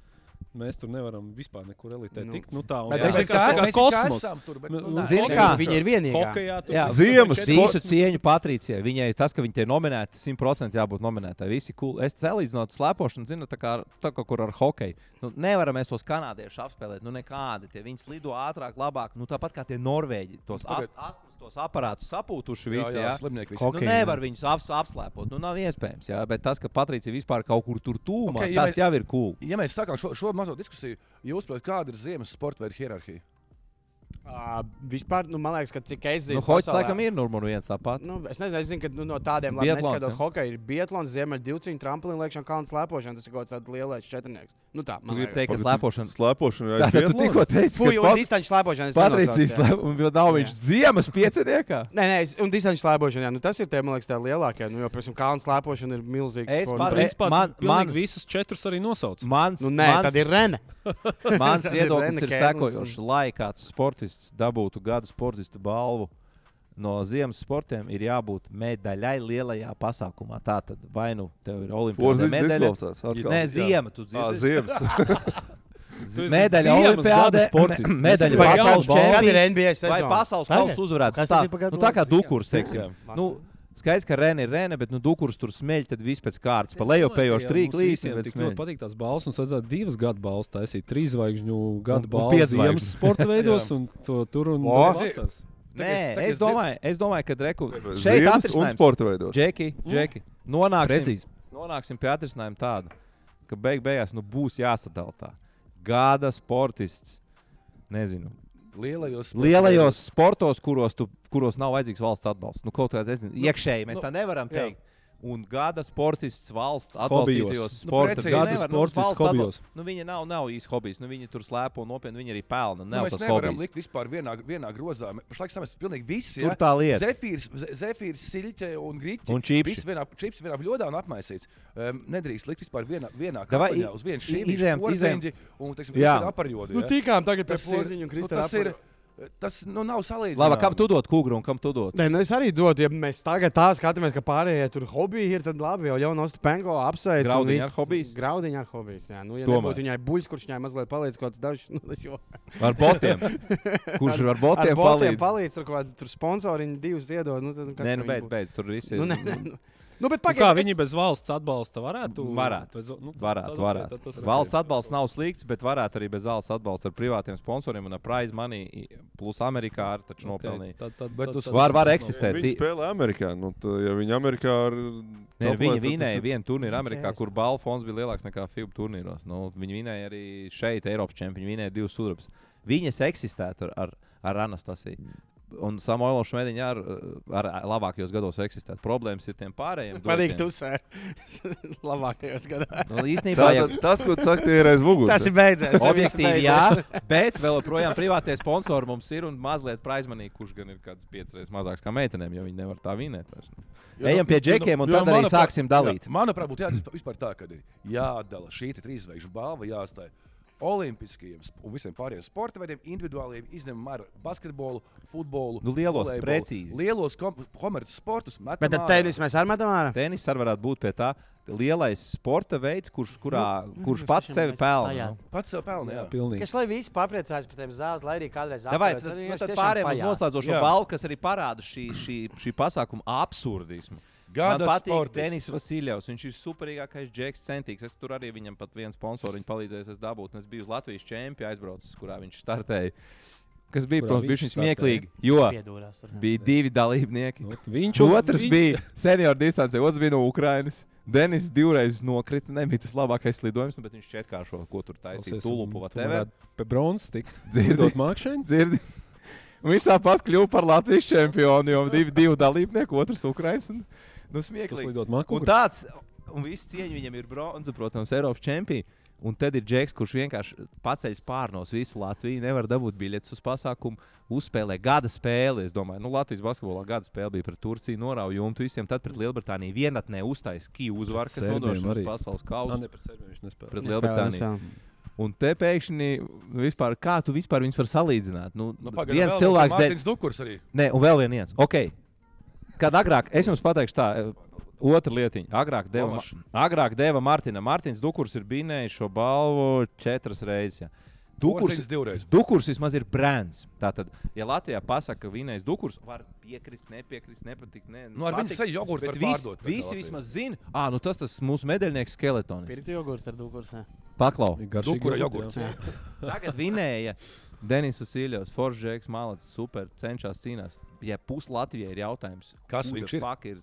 Mēs tur nevaram vispār nekur elitē Nu. tikt. Nu, tā, un Bet jā, es mēs teiktu, ka kā mēs kosmos. esam tur, bet, Nu, nu, nē. zini, Zini, kā Hokejā. viņi ir vienīgā. Hokejā tur Jā, ir ziemas četri- Visu cieņu Patricijai. Viņai tas, ka viņa te ir nominēta, 100% jābūt nominētai. Visi cool. Es salīdzinu slēpošanu, zinu, tā kā, ar- tā kā kur ar hokeju. Nu, nevaram mēs tos kanādiešus apspēlēt. Nu, nekādi. Tie viņi slido ātrāk, labāk. Nu, tāpat kā tie norvēģi. Tos Pagaid. ast- astmus, tos aparātus sapūtuši visi. Nu, jā, jā, Jā, slimnieki visi. Nu, Hokeju. nevar viņus aps, apslēpot. Nu, nav iespējams. Jā. Bet tas, ka Patricija vispār kaut kur tur tūmā, Ok, okay, ja tas mēs- jau ir cool. Ja mēs sākām šo, šo mazo diskusiju, jūs saprotat, kāda ir ziemas sporta veida hierarhija? Ā, Vispār, nu, man liekas, ka cik es Nu, zinu, Hoķis pasaulē- laikam ir numur viens tāpat. Nu, es nezinu, es zinu, ka nu, no tādiem Biatlons, labiem ja? skatot hokeja ir Bietlons, Ziemeļ divciņš, tramplīna lēkšana, kalns lepošana. Tas ir kaut kāds tāds lielais četrnieks. Nu tā, Tu man gribi liekas. teikt, ka slēpošana. Slēpošana Tā ir tad tu tikko teici, Fuj, ka un Pat- distanču slēpošana. es Patricijas nenosaucu, jā. līnija nav viņš ziemas pieciniekā. Nē, nē, es, un distanču slēpošana, jā, nu tas ir tie, man liekas, tā lielākie. Nu, jo, piemēram, kalns lepošana ir milzīgs. Es sports pat- veids. Principā, Man- man, man manas- visus četrus arī nosauc. Mans, Nu, nē, mans, tad ir Rene. mans tad ir viedoklis Rene ir Kēns sekojošs. Lai kāds sportists dabūtu gada sportistu balvu no ziemas sportiem, ir jābūt medaļai lielajā pasākumā. Tā tad vai nu tev ir olimpiskā Porzīts medaļa. disklausās. Nē, ziema. Tu Jā, dzirdi? ziemas. Tu esi Medaļa ziemas olimpiāde, gada sportists. me- medaļa Vai Pagaid, pasaules gada Kad čempionātā. ir NBA Vai sezona? pasaules Tagad? kausa uzvarētājs? Kas Tā, tad ir pa gadu nu, tā kā laiks? dukurs, Jā. teiksim. Vasarā. Nu, Skaidrs, ka Renē ir Renē, bet nu, dukurs tur smeļ, tad viss pēc kārtas pa lejupējošu trīku līsi. bet Tik smeļ. ļoti patīk tās balss, un es redzēju, divas gadu balss taisīt, trīs zvaigžņu un gadu balss, piezvaigžņu. ziemas sporta veidos, un to tur O! un tur vasaras. Nē, tagad es es dzirdu- domāju, es domāju, ka Reku šeit Ziemas un atrisinājums. sporta veidos. Džeki, Džeki, nonāksim, nonāksim pie atrisinājuma tāda, ka beig beigās nu, būs jāsadala tā. Gada sportists, nezinu, Lielajos, sporta lielajos sportos, kuros, tu, kuros nav vajadzīgs valsts atbalsts. Nu, kaut kādā nu, iekšēji mēs nu, tā nevaram jā. teikt. Un gada sportists valsts Hobijos. atbalstītajos Nu, sporta precīzi. veidos. Gada Nevar, nu, sportists valsts atbal- hobijos. Nu, viņa nav, nav īsti hobijs. Nu, viņa tur slēpo nopietni, viņa arī pelna. Nu, Nav mēs tas nevaram hobijs. likt vispār vienā, vienā grozā. Mē- Pašlaik tas ir pilnīgi visi. Tur ja. tā lieta. Zefīrs, ze- zefīrs siļķe un grīķis. Un čipši. Viss vienā, čips vienā ļodā un apmaisīts. Um, nedrīkst likt vispār vienā, vienā Davai, kapaņā uz vienu šīm izejam- izejam. Un, teiksim, Jā. jā. Aparjodi, Nu, ja. tikām tagad pie tas ir, porziņa nu, un kristāla. tas ir, tas nu, nav salīdzināms. Labi, kam tu dod kūgru un kam tu dod? Nē, nu es arī dodu, ja mēs tagad tā skatāmies, ka pārējie tur hobiji ir, tad labi, jau Jānis Penko apsveic. un Graudiņi viss- ar hobijs? Graudiņi ar hobijs, jā. Nu, ja Tomēr. nebūtu viņai buļs, kurš viņai mazliet palīdz kaut kāds dažs, nu, tas jau Ar botiem. Kurš ar ar botiem botiem palīdz? palīdz, ar kaut kādu tur sponsoriņu divus iedod, nu, tad kas Nē, nu tam beidz, būtu? beidz. Tur viss ir. Nu, nē, nē, nu. nu, bet Nu, kā pagaidi, viņi bez valsts atbalsta varētu? Varētu. Bez, nu, tad- Varētu, tad- varētu. tad tas ir Valsts ok. atbalsts nav slikts, bet varētu arī bez valsts atbalsta ar privātiem sponsoriem un ar prize money, i- plus Amerikā arī taču Ok, nopelnīja. tad- tad- Bet tad- tu tad- Var, var tad- eksistēt. Viņi spēlē Amerikā. Nu, tā, ja viņi Amerikā ar Nē, viņi tablētu, tad Nu, tas vinēja ir- vienu turnīru Amerikā, Jēzus. kur balvu fons bija lielāks nekā FIBA turnīros. Nu, viņi vinēja arī šeit, Eiropas čempionā, viņi vinēja divas sudrabas. Viņas eksistētu ar, ar, ar Anastasiju. Un Samuēlam Šmētiņam ar, ar labākajos gados eksistētu. Problēmas ir tiem pārējiem. Patīk, tu dotiem. uzsver. Labākajos gados. Nu, īstenībā, ja, Tātad tas, ko tu saki, tie ir aiz muguras. Tas ir beidzies. tas viss Objektīvi, beidzies. jā, bet vēl joprojām privātie sponsori mums ir un mazliet praizmanīgi, kurš gan ir kāds piecas reizes mazāks kā meitenēm, jo viņi nevar tā vinēt. vairs, nu. Jo, nu, Ejam pie jo, džekiem un jo, tad arī manuprāt- sāksim dalīt. Jā, manuprāt, būtu jāatzīst vispār tā, ka ir jādala šī te trīsveikšu balva, jāstāj olimpiskajiem sp- un visiem pārējiem sporta veidiem, individuāliem, izņemot ar basketbolu, futbolu, Nu, lielos, volejbolu. precīzi. Lielos kom- komerces sportus, Bet tad tenis mēs ar metam ārā. Tenis arī varētu būt pie tā ka lielais sporta veids, kurš, kurā, Nu, mhm, kurš pats sevi pelna. nu. pats sev pelnījis. Jā. Pilnīgi. Kas lai visi papriecājas par tiem zelta, lai arī kādreiz Davai, atceros, tad, arī nu, vienkārši tad tiešām pārējām uz pajā. noslēdzošo Jā. balvu, kas arī parāda šī, šī, šī pasākuma absurdismu. Gada Man patīk sportists. Denis Vasiljevs. Viņš ir superīgākais džeks, centīgs. Es tur arī viņam pat viens sponsors viņa palīdzēja es dabūt. un Es biju uz Latvijas čempionu aizbraucis, kurā viņš startēja. Kas bija, Kurā protams, viņš bija šis startēja. smieklīgi, jo Piedūrās tur. bija divi dalībnieki. Nu, Viņš un- Otrs viņš- bija senioru distancē, otrs bija no Ukrainas. Denis divreiz nokrita. Nebija tas labākais lidojums, nu, bet viņš četrkāršo, ko tur taisīja. Klausies, Tulupu un vai tu TV. varētu Pie bronzas tikt. Dzirdi. Dzirdot mākšēni? Dzirdi? Un viņš tāpat kļuva par Latvijas čempionu, jo divi, divi dalībnieki, otrs Ukraiņas. Un, nu, Tas smieklīgi. lidot māku. Un tāds, un viss cieņa viņam ir bronza, protams, Eiropas čempions. Un tad ir Džeks, kurš vienkārši paceļ pārnos visu Latviju, nevar dabūt biļetes uz pasākumu, uzspēlē gada spēli. Es domāju, nu, Latvijas basketbolā gada spēle bija pret Turciju, norauja jumtu visiem. Tad pret Lielbritāniju vienatnē uztaisīja Kiju uzvaru, kas Serbiem nodrošina arī. pasaules Nā, kausu Nu, ne par serbiem viņš nespēlē. pret Lielbritāniju. Un te pēkšņi, nu, vispār, kā tu vispār viņus var salīdzināt? Nu, nu, viens cilvēks, dēļ. dēļ, Mārtiņš Dukurs arī. nē, un vēl viens. Okay. Kad agrāk, es jums pateikšu, tā, eh, Otra lietiņa. Agrāk deva, Tomašs. Ma- agrāk deva Martina. Mārtiņš Dukurs ir bijis šo balvu četras reizes. Ja. Dukurs, Porziņš divreiz. Dukurs vismaz ir brands. Tātad, ja Latvijā pasaka, ka vīnais dukurs var piekrist, nepiekrist, nepatikt. Ne, Nu, ar viņu patikt, seju jogurtu var bet vis- pārdot tagad Visi Latvijā. vismaz zina, ah, nu tas tas mūsu medaļnieks skeletonis. Pirkti jogurtu ar dūkursē. Paklau. Garšīgi Dukura jogurti, jā. Tagad vinēja Denis Usiljovs, Foršs, Žeks, Malacis, super cenšas cīnās. Ja pus Latvijai ir jautājums, Kas who the viņš ir? fuck ir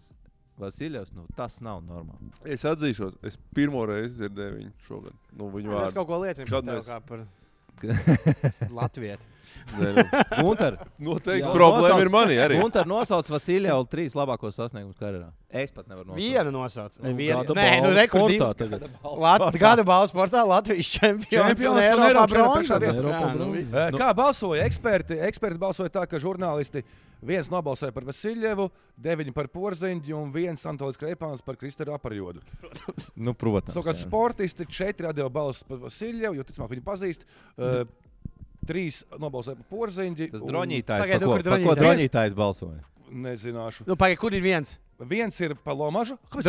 Vasiljovs, nu tas nav normāli. Es atzīšos, es pirmo reizi dzirdēju viņu šogad. Nu, viņu Tas vārdu. kaut ko liecina par Kad tevi mēs- kā par Latviju. Nē, nu, Gunter, Noteikti Jā. problēma ir Nosauc- mani arī. Gunter nosauc Vasiljevu trīs labākos sasniegumus karjerā. Es pat nevaru nosaukt. Vienu nosauc. Nu, Vienu. gada Nē, nu balvu sportā rekordā. tagad. Sportā. Gada balvas sportā Latvijas čempions. Čempions un un Eiropā Eiropas bronza. čempions. Jā, Eiropā nu, bronza. viss. Eh, Kā balsoja eksperti? Eksperti balsoja tā, ka žurnālisti viens nobalsoja par Vasiljevu, deviņi par Porziņģi un viens Antolis Kreipāns par Kristēru Aparjodu. Nu, protams. Savukārt jā. sportisti četri atdeva balsis par Vasiljevu, jo ticamāk viņu pazīst. eh, Trīs nobalsoja par Porziņģi. Tas un- droņītājs, Pagaidu, par ko, kur par ko droņītājs? droņītājs balsoja? Nezināšu. Nu, pagaid, kur ir viens? Viens ir par Lomažu. Kāpēc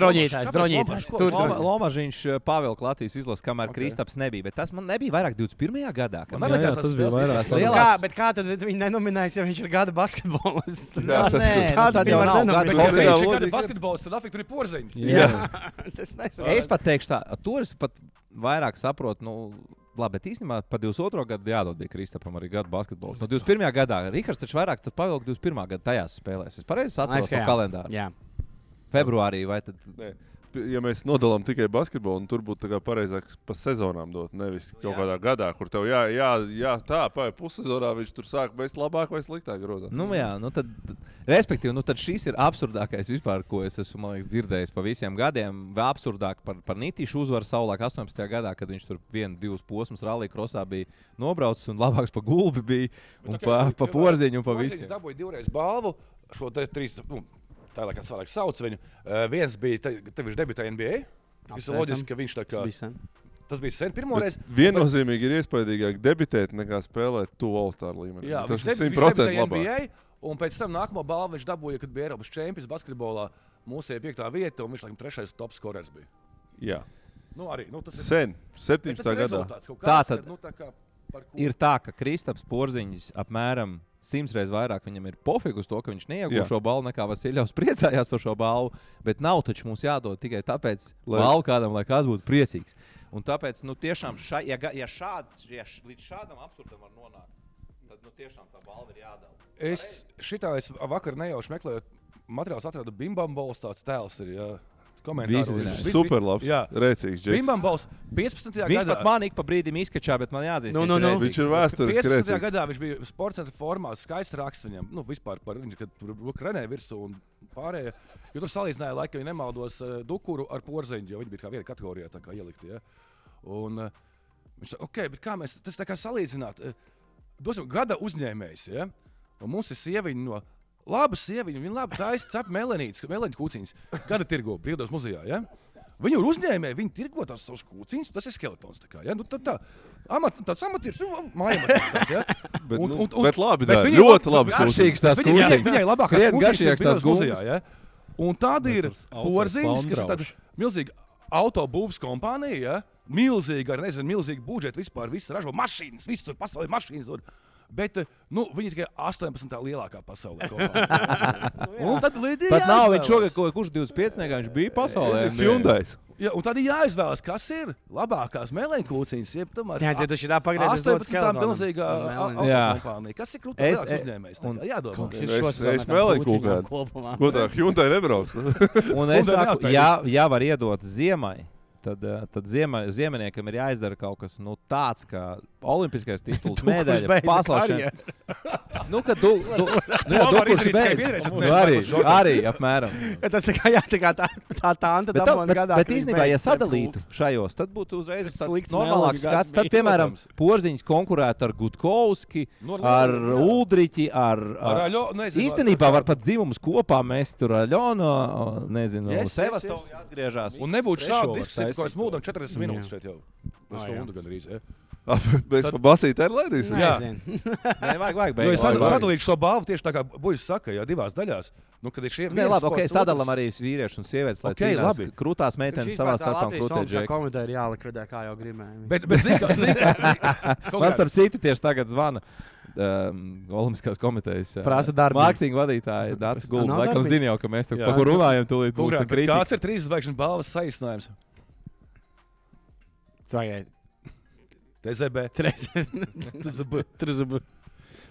Lomažu? Droņītājs, Kāpēc droņītājs. Lomažu? Ko- Tur Loma- droņītājs. Lomažiņš pavēl Latvijas izlases, kamēr Ok. okay. Kristaps nebija, bet tas man nebija vairāk 21. gadā. kad Man Jā, liekas, jā, tas tas bija spēles vairāk. bija labi. lielā- Kā, bet kā tad viņu nenominēs, ja viņš ir gada basketbolists? Jā, Nu, tas- nē, nu, Kā tad tad jau jau nav nenominēs. gada Bet, ja viņš Hokeja ir logika. gada basketbols, tad afik tur ir Porziņģis. Jā. Es nesaprotu. Es pat teikšu, tā, to es pat vairāk saprotu. Nu, labi, bet īstenībā par 22. gadu jādod bija Kristapam arī gada basketbols. No 21. gadā Rīgards taču vairāk tad pavilka 21. gada tajās spēlēs. Es pareizi atceros to Aizkajā. kalendāru. Jā. Februārī vai tad? Nē, pi- Ja mēs nodalām tikai basketbolu, tad tur būtu tā kā pareizāk pa sezonām dot. Nevis Nu, kaut jā. kādā gadā, kur tev jā, jā, jā tā, pāri pussezonā viņš tur sāk beigas labāk vai sliktāk grozā. Nu, jā, nu tad, tad- respektīvi, nu tad šis ir absurdākais vispār, ko es esmu man liekas, dzirdējis pa visiem gadiem. Vēl absurdāk par, par Nitīšu uzvaru savulaik 18. gadā, kad viņš tur vienu, divus posmus rallija krosā bija nobraucis un labāks pa gulbi bija un pa, pa porziņu un pa Porziņš visiem. dabūja divreiz balvu. Šo te trīs, nu, tā kā cilvēks sauc viņu. Eh, viens bija, te, te viņš debitēja NBA. Tas ir Apsveicam. loģiski, ka viņš tā kā. Tas bija sen. Tas bija sen pirmoreiz. Viennozīmīgi ir iespaidīgāk debitēt nekā spēlēt to All-Star līmenī. Nu, Jā, tas viņš ir debi- viņš 100% debitēja labāk. NBA, Un pēc tam nākamo balvu viņš dabūja, kad bija Eiropas čempions basketbolā. Mūsu bija piektā vieta, un viņš laikam trešais top scorers bija. Jā. Nu, arī, nu, tas ir, Sen, bet 17. tas ir gadā. rezultāts kaut kāds, Tātad ka, nu, tā kā par ko- Ir tā, ka Kristaps porziņš apmēram simts reizes vairāk viņam ir pofīgi uz to, ka viņš Jā. neieguva šo balvu nekā Vasiljovs priecājās par šo balvu, bet nav taču mums jādod tikai tāpēc, lai Lai- balvu kādam, lai kāds būtu priecīgs. Un tāpēc, nu, tiešām, ša, ja, ga- ja šāds, ja š, līdz šādam absurdam var nonākt, tad, nu, tiešām tā balva ir jādala. Es šitā es vakar nejauši meklēju materiālus, atradu Bimbambols tāds tēls. Ir, jā. Komentāros. Visi zināja. Bi- bi- Superlabs. Jā, Rēcīgs džeks. Bimbambols 15. Viņš gadā. pat man ik pa brīdim izskačā, bet man jāatzīst, Nu, viņš nu, ir nu. redzīgs. Viņš ir vēsturiski 15. rēcīgs. gadā viņš bija sports centra formā, skaists raksts viņam. Nu, vispār par viņu, kad tur bija krenēja virsū un pārējie. Jo tur salīdzināja, laikam, ja nemaldos, eh, dukuru ar porziņu, jo viņi bija kā vienā kategorijā tā kā ielikti. Ja? Un, eh, viņš saka, ok, bet kā mēs tas tā kā salīdzināt? Eh, Dosim gada uzņēmējs, ja? un mums ir sieviņa no labas sievietes, viņa labi taisa cep melanītas, melanītas kūciņas, gada tirgo brīvdienas muzejā. Ja? Viņa ir uzņēmēja, viņa tirgo tās savas kūciņas, tas ir skeletons. tā Kā, ja? nu, tā, tā. Amat, tāds amatieris, nu, mājās tāds. Ja? Bet, Un- nu, un- un- bet labi, bet dara. viņai ļoti lab- labi. garšīgs tās Viņai- kūciņas. Viņai labākās Krietni kūciņas ir garšīgāks tās Bildes muzejā. Ja? Un tāda ir tas aucers porziņš, kas ir tāda paundrauši. milzīga autobūvas kompānija. Ja? Milzīga, ar nezinu, milzīgu budžetu vispār. Viss ražo mašīnas, visur pasaulē mašīnas. Un... Bet eh, nu, viņi tikai 18. lielākā pasaulē. kompānija. Nu un tad līdzi Pat nav viņš šogad, ko- kurš 25. gadā viņš bija pasaulē. Hyundai. Ja, un tad ir jāizvēlas, kas ir labākās melenkūciņas. jeb tomēr Jā, dzirdēju, šitā pagriezīs 18. dod tā skeletonam. milzīgā Ar melniem. au- Jā. autokompānija. Kas ir Es- krūtis es- uzņēmējs? un- Un, jādomā. Šis Es- šos es vēl vēl kaut kūciņām kādu. kopumā. Ko tā Hyundai nebrauc? Un Un vēl es saku, jāpēdas. ja, ja var iedot ziemai, tad, eh, tad ziema, ziemniekam ir jāizdara kaut kas nu, tāds, kā olimpiskais tituls, medaļa, pasaules karjeru. Nu, ka tu, tu, nu, jā, To tu var kurš izdarīt tikai vienreiz, beidz. ja tu Nu, neesi Arī, Michaels Jordans. arī apmēram. Tas tā kā jā, tā kā tā tā tanta Bet, tā, dabūna bet, gadā. bet kad viņš īstenībā, ja beidz cept sadalītu kūkus. šajos, tad būtu uzreiz Tas tāds slikts normālāks melodiju gads skats. Tad, bija, piemēram, protams. porziņš konkurētu ar Gutkovski, Nu, ar ar Lorenu, jā. Uldriķi, ar, Ar ar Aļo- nu, nezinu, Īstenībā var pat dzimumus kopā mest tur Aļonu, nezinu, Yes, yes, yes, Sevastovu yes. yes. atgriežās. Un nebūtu Trešo šāda var diskusija, ko taisīt. es mūžam 40 minūtes šeit jau. Ah, Es jā. stundu gandrīz. ja. Mēs Tad- pa basīti arī ledīsim. Jā. Nezinu. Nē, vajag, vajag. Jo beigās. Nu, es Vai, sad- vai. sadalīšu šo balvu tieši tā, kā Buļs saka, jau divās daļās. Nu, kad ir šie Nē, viens labi, ok, sports, sadalām otrs- arī vīriešu un sievietes. Lai Okei, okay, labi. labi. Krūtās meitenes Šī savā tā starpā Latvijas krūtē Olimpiskā džeku. komiteja ir jālikvidē, kā jau gribējām. Bet, bet zini, kā- zini, kā- zini, kaut Man kā- starp citu tieši tagad zvana. Um, Olimpiskās komitejas Prasa darbiņu. Mārketinga vadītāja Dārsa Gulba. nav Laikam darbiņu? zina jau, ka mēs tur Jā. kaut kur runājam, tūlīt būs Kukrā, tur bet kritika. Kāds ir trīs zvaigžņu balvas saīsinājums? Tagad. TZB. Trezub.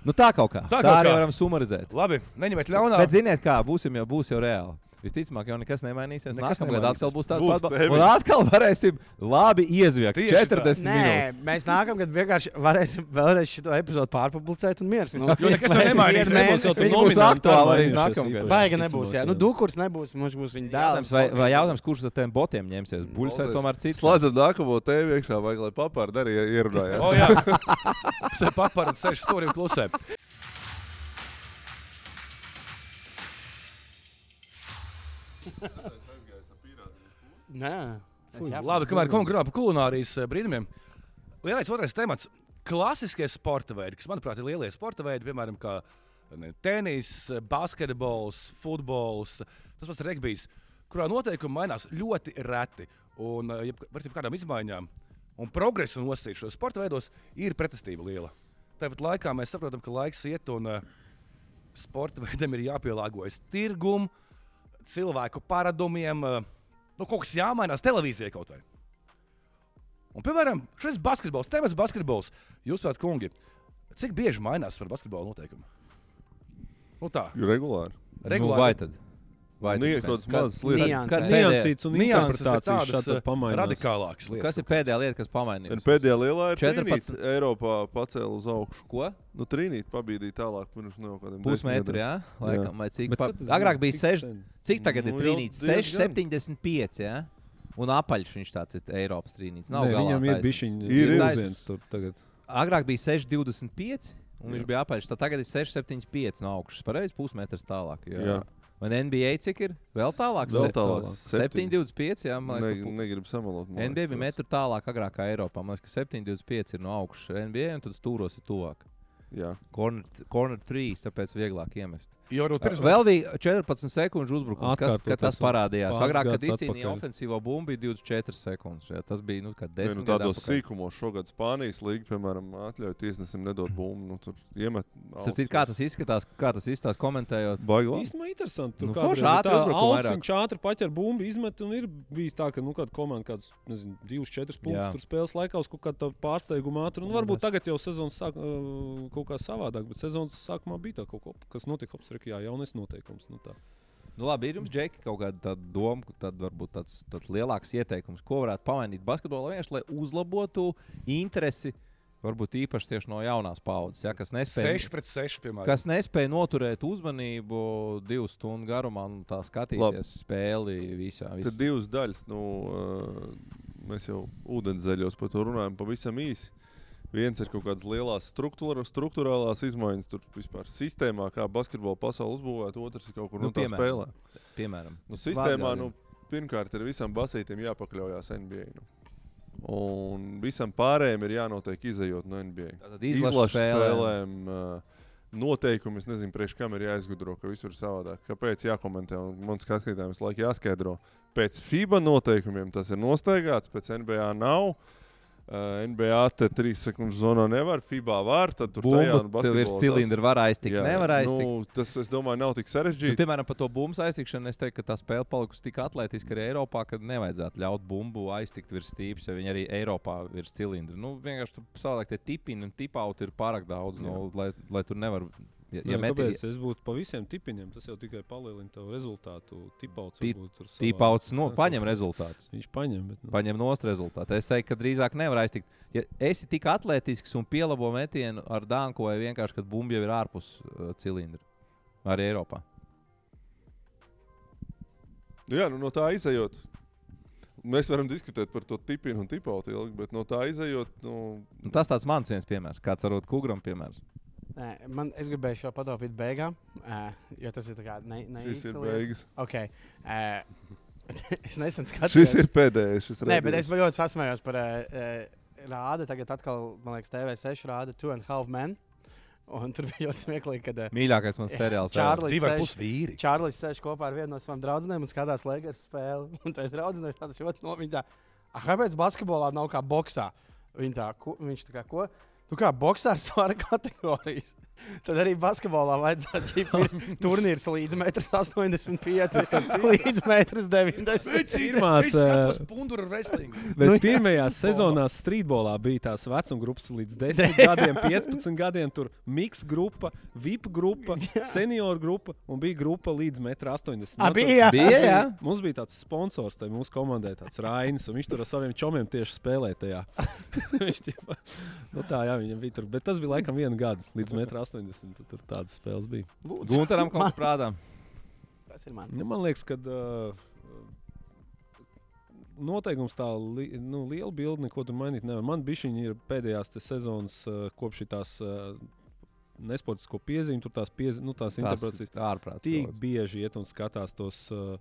Nu tā kaut kā. Tā Tā, kaut tā arī kā. varam sumarizēt. Labi, neņemiet ļaunā. Bet ziniet, kā būsim jau, būs jau reāli. Visticamāk, jau nekas nemainīsies. Nekas Nākamgad nemainīsies. atkal būs tāds Būs pats. ba- tevis. Un atkal varēsim labi iezviegt. Tieši 40 Nē, minūtes. mēs nākamgad vienkārši varēsim vēlreiz šo epizodu pārpublicēt un miers. Nu, Jo nekas jau mēs nemainīsies, vienu mums jau mēnesi- tur nomi- Baigi nebūs. Jā, nu, dukurs nebūs. Mums būs viņa Jautājums, dēls. vai, vai jautājums, kurš no tiem botiem ņemsies? Buļs vai Paldies. tomēr cits? Slēdzam nākamo tēmu iekšā, vajag, lai papārdi arī ierunājās. O, jā, tas ir paparāts sešu stūriem klusē. Nē. Labi, kamēr konkurējām par kulinārijas eh, brīnumiem. Lielais otrais temats - klasiskie sporta veidi, kas, manuprāt, ir lielie sporta veidi, piemēram, kā ne, tenis, eh, basketbols, futbols, tas pats regbijs, kurā noteikumi mainās ļoti reti un eh, jeb, ar kādām izmaiņām. Un progresa nosacīt šos sporta veidos ir pretestība liela. Tāpat laikā mēs saprotam, ka laiks iet un eh, sporta veidam ir jāpielāgojas tirgumam, cilvēku paradumiem. eh, Nu, kaut kas jāmainās televīzijai kaut vai. Un, piemēram, šis basketbols, tēmas basketbols, jūs prāt, kungi, cik bieži mainās par basketbolu noteikumu? Nu tā, Jo regulāri. Nu, vai tad? Vai Nu, ir tad? kaut kādas mazas lietas. nianses. kad- Niansīts un nianses, bet interpretācijas tādas, šādi eh, pamainās. radikālākas lietas. Kas ir pēdējā lieta, kas Un pamainījās? Pēdējā lielā ir 14. 14. Eiropā pacēla uz augšu. Ko? Nu, trīnīt pabīdīja tālāk, pirms no kaut kādiem Pusmetru, jā? Laikam, vai cik? Pa, tas agrāk bija bija cik 6. sen? Cik tagad ir Nu, jau trīnīts? diezgan. 6,75, jā? Un apaļš viņš tāds ir Eiropas trīnīts. Nav Nē, galā viņam ir taisnīgs. bijis Ir, ir. grūts tur tagad. Agrāk bija 6,25 un viņš bija apaļš. Tad tagad ir 6,75 no augšas. Pareizi pusmetrs tālāk. Jā. Jā. Un NBA cik ir? Vēl tālāk? Vēl Se- tālāk, 7,25. Jā, man liekas, Ne, ka pu- negribu samalot. man NBA liekas, bija metru tālāk, agrāk kā Eiropā. Man liekas, ka 7,25 ir no augšas NBA, un tad stūros ir tuvāk. Jā. Corner, corner 3, tāpēc vieglāk iemest. Jo, nu, pirms, Vēl bija 14 sekundžu uzbrukums, kas, Atkārtot kad tas esam. parādījās. Pāris Agrāk, kad gadus izcīnīja atpakaļ. ofensīvo bumbu, bija 24 sekundes. Jā, tas bija nu, kā Ne, 10 nu, gadu tādos atpakaļ. sīkumos šogad Spānijas līnija, piemēram, atļauj tiesnesim nedot bumbu. Nu, tur iemet. Starp citu, Kā tas izskatās, kā tas izskatās komentējot? Baigās. Īstenībā interesanti. Tur Nu, nu, forši kādreiz ir ātri tā uzbrukuma alts, vairāk. viņš ātri paķer bumbu, izmet un ir bijis tā, ka nu, kāda komanda kāds, nezinu, divus, četrus Jā. punktus tur spēles laikā uz kaut kāda pārsteiguma ātruma. Nu, varbūt tagad jau sezonas sāk, uh, kaut kā savādāk, bet sezonas sākumā bija tā kaut kas, kas notika Hopsrekijā, jaunais noteikums. Nu, tā. Nu, labi, ir jums, Džeki, kaut kāda tāda doma, ka tad varbūt tāds, tāds lielāks ieteikums, ko varētu pamainīt basketbolā, vienkārši, lai uzlabotu interesi. Varbūt īpaši tieši no jaunās paudzes, ja, kas, nespēja, 6 pret 6, piemēram. kas nespēja noturēt uzmanību divu stundu garumā, un tā skatīties Labi. Lab. spēli visā. Tad visā. divas daļas. Nu, uh, mēs jau ūdenzēļos par to runājam pavisam īsi. Viens ir kaut kādas lielas struktūra, struktūrālās izmaiņas, tur vispār sistēmā, kā basketbola pasaule uzbūvēta, otrs ir kaut kur Nu, nu, no tā piemēram. spēlē. Piemēram, Nu, sistēmā Vārdā, nu, pirmkārt ir visam basītam jāpakļaujas NBA. Nu. Un visam pārējiem ir jānotiek izējot no NBA. Tātad Izlašu izlašu spēlē. spēlēm, ā, Noteikumi, es nezinu, priekš kam ir jāizgudro, ka visur ir savādāk. Kāpēc jākomentē? un Man skatītājiem visu laiku jāskaidro. Pēc FIBA noteikumiem tas ir nosteigts, pēc NBA nav. Uh, Ā, NBA te trīs sekundes zonā nevar, FIBA var, tad tur tajā un Bumba, tev ir basketbolā tas- cilindri, var aiztikt, Jā, nevar aiztikt. Nu, tas, es domāju, nav tik Nu, sarežģīti. piemēram, par to bumbu aiztikšanu, es teiktu, ka tā spēle palikusi tik atletiska arī Eiropā, ka nevajadzētu ļaut bumbu aiztikt virs stīpes, ja viņi arī Eiropā virs cilindra. Nu, vienkārši tur savādāk tie tipini un tipauti ir pārāk daudz, no, lai, lai tur nevar. Ja, Ja ja Nē, metīs Nu, kāpēc es būtu pa visiem tipiņiem, tas jau tikai palielina tavu rezultātu. Tipauts Tip- varbūt tur savādāk. tīpauts, nu, Jā, paņem rezultātus. Viņš paņem, bet nu, Paņem nost rezultātu. Es teiktu, ka drīzāk nevar aiztikt. Ja esi tik atletisks un pielabo metienu ar dānku, vai vienkārši, kad bumba jau ir ārpus uh, cilindra, arī Eiropā. Nu, jā, nu, no tā izējot. Mēs varam diskutēt par to tipinu un tipautu ilgi, bet no tā izējot, nu, Nu, tas tāds mans viens piemērs, kāds varbūt Kugram piemērs. Nē, man, es gribēju šo pataupīt beigām, ā, jo tas ir tā kā ne, ne šis ir īsta lieta. beigas. Okay. ā, es nesen skatījos. Šis ir pēdējais. Šis Nē, bet raidījums. es ļoti sasmējos par uh, rāda, tagad atkal, man liekas, TV6 rāda Two and a Half Men. Un tur bija ļoti smieklīgi, kad eh, Mīļākais mans seriāls. Čārlis. Divi ar sēž- pus vīri. Čārlis sēž kopā ar vienu no savām draudzenēm un skatās Lakers spēli. Un tā draudzene ir tāda ļoti nopietna. "Ah, Kāpēc basketbolā nav kā boxā? Viņa tā, ko, viņš tā kā, ko? Tu kā boxers svara kategorijas. Tad arī basketbolā vajadzētu būt turnīrs līdz 1,85 m līdz 1,90 m. Pirmās, Es skatos eh, punduru wrestlingu. Bet nu, pirmajā sezonā streetbolā bija tās vecuma grupas līdz 10 gadiem, 15 gadiem. Tur bija miks grupa, VIP grupa, senioru grupa un bija grupa līdz 1,80 Abi bija. Nu, Bija, jā. Mums bija tāds sponsors, tai mūsu komandai, tāds Rainis, un viņš tur ar saviem čomiem tieši spēlēja tajā. viņš ķipa, nu tā, jā, viņam bija tur. Bet tas bija laikam viens gads, līdz 1,80 m. Tur tādas spēles bija. Gunteram kaut kas prātā. Tas ir mans. Nu, man liekas, ka uh, noteikums tā li, nu, liela bilde neko tur mainīt nevar. Man bija šī pēdējās te sezonas uh, kopš tās uh, nesportisko piezīmes, tur tās, piez, nu, tās interpretācijas. ārprāts. Tik daudz. bieži iet un skatās tos. Uh,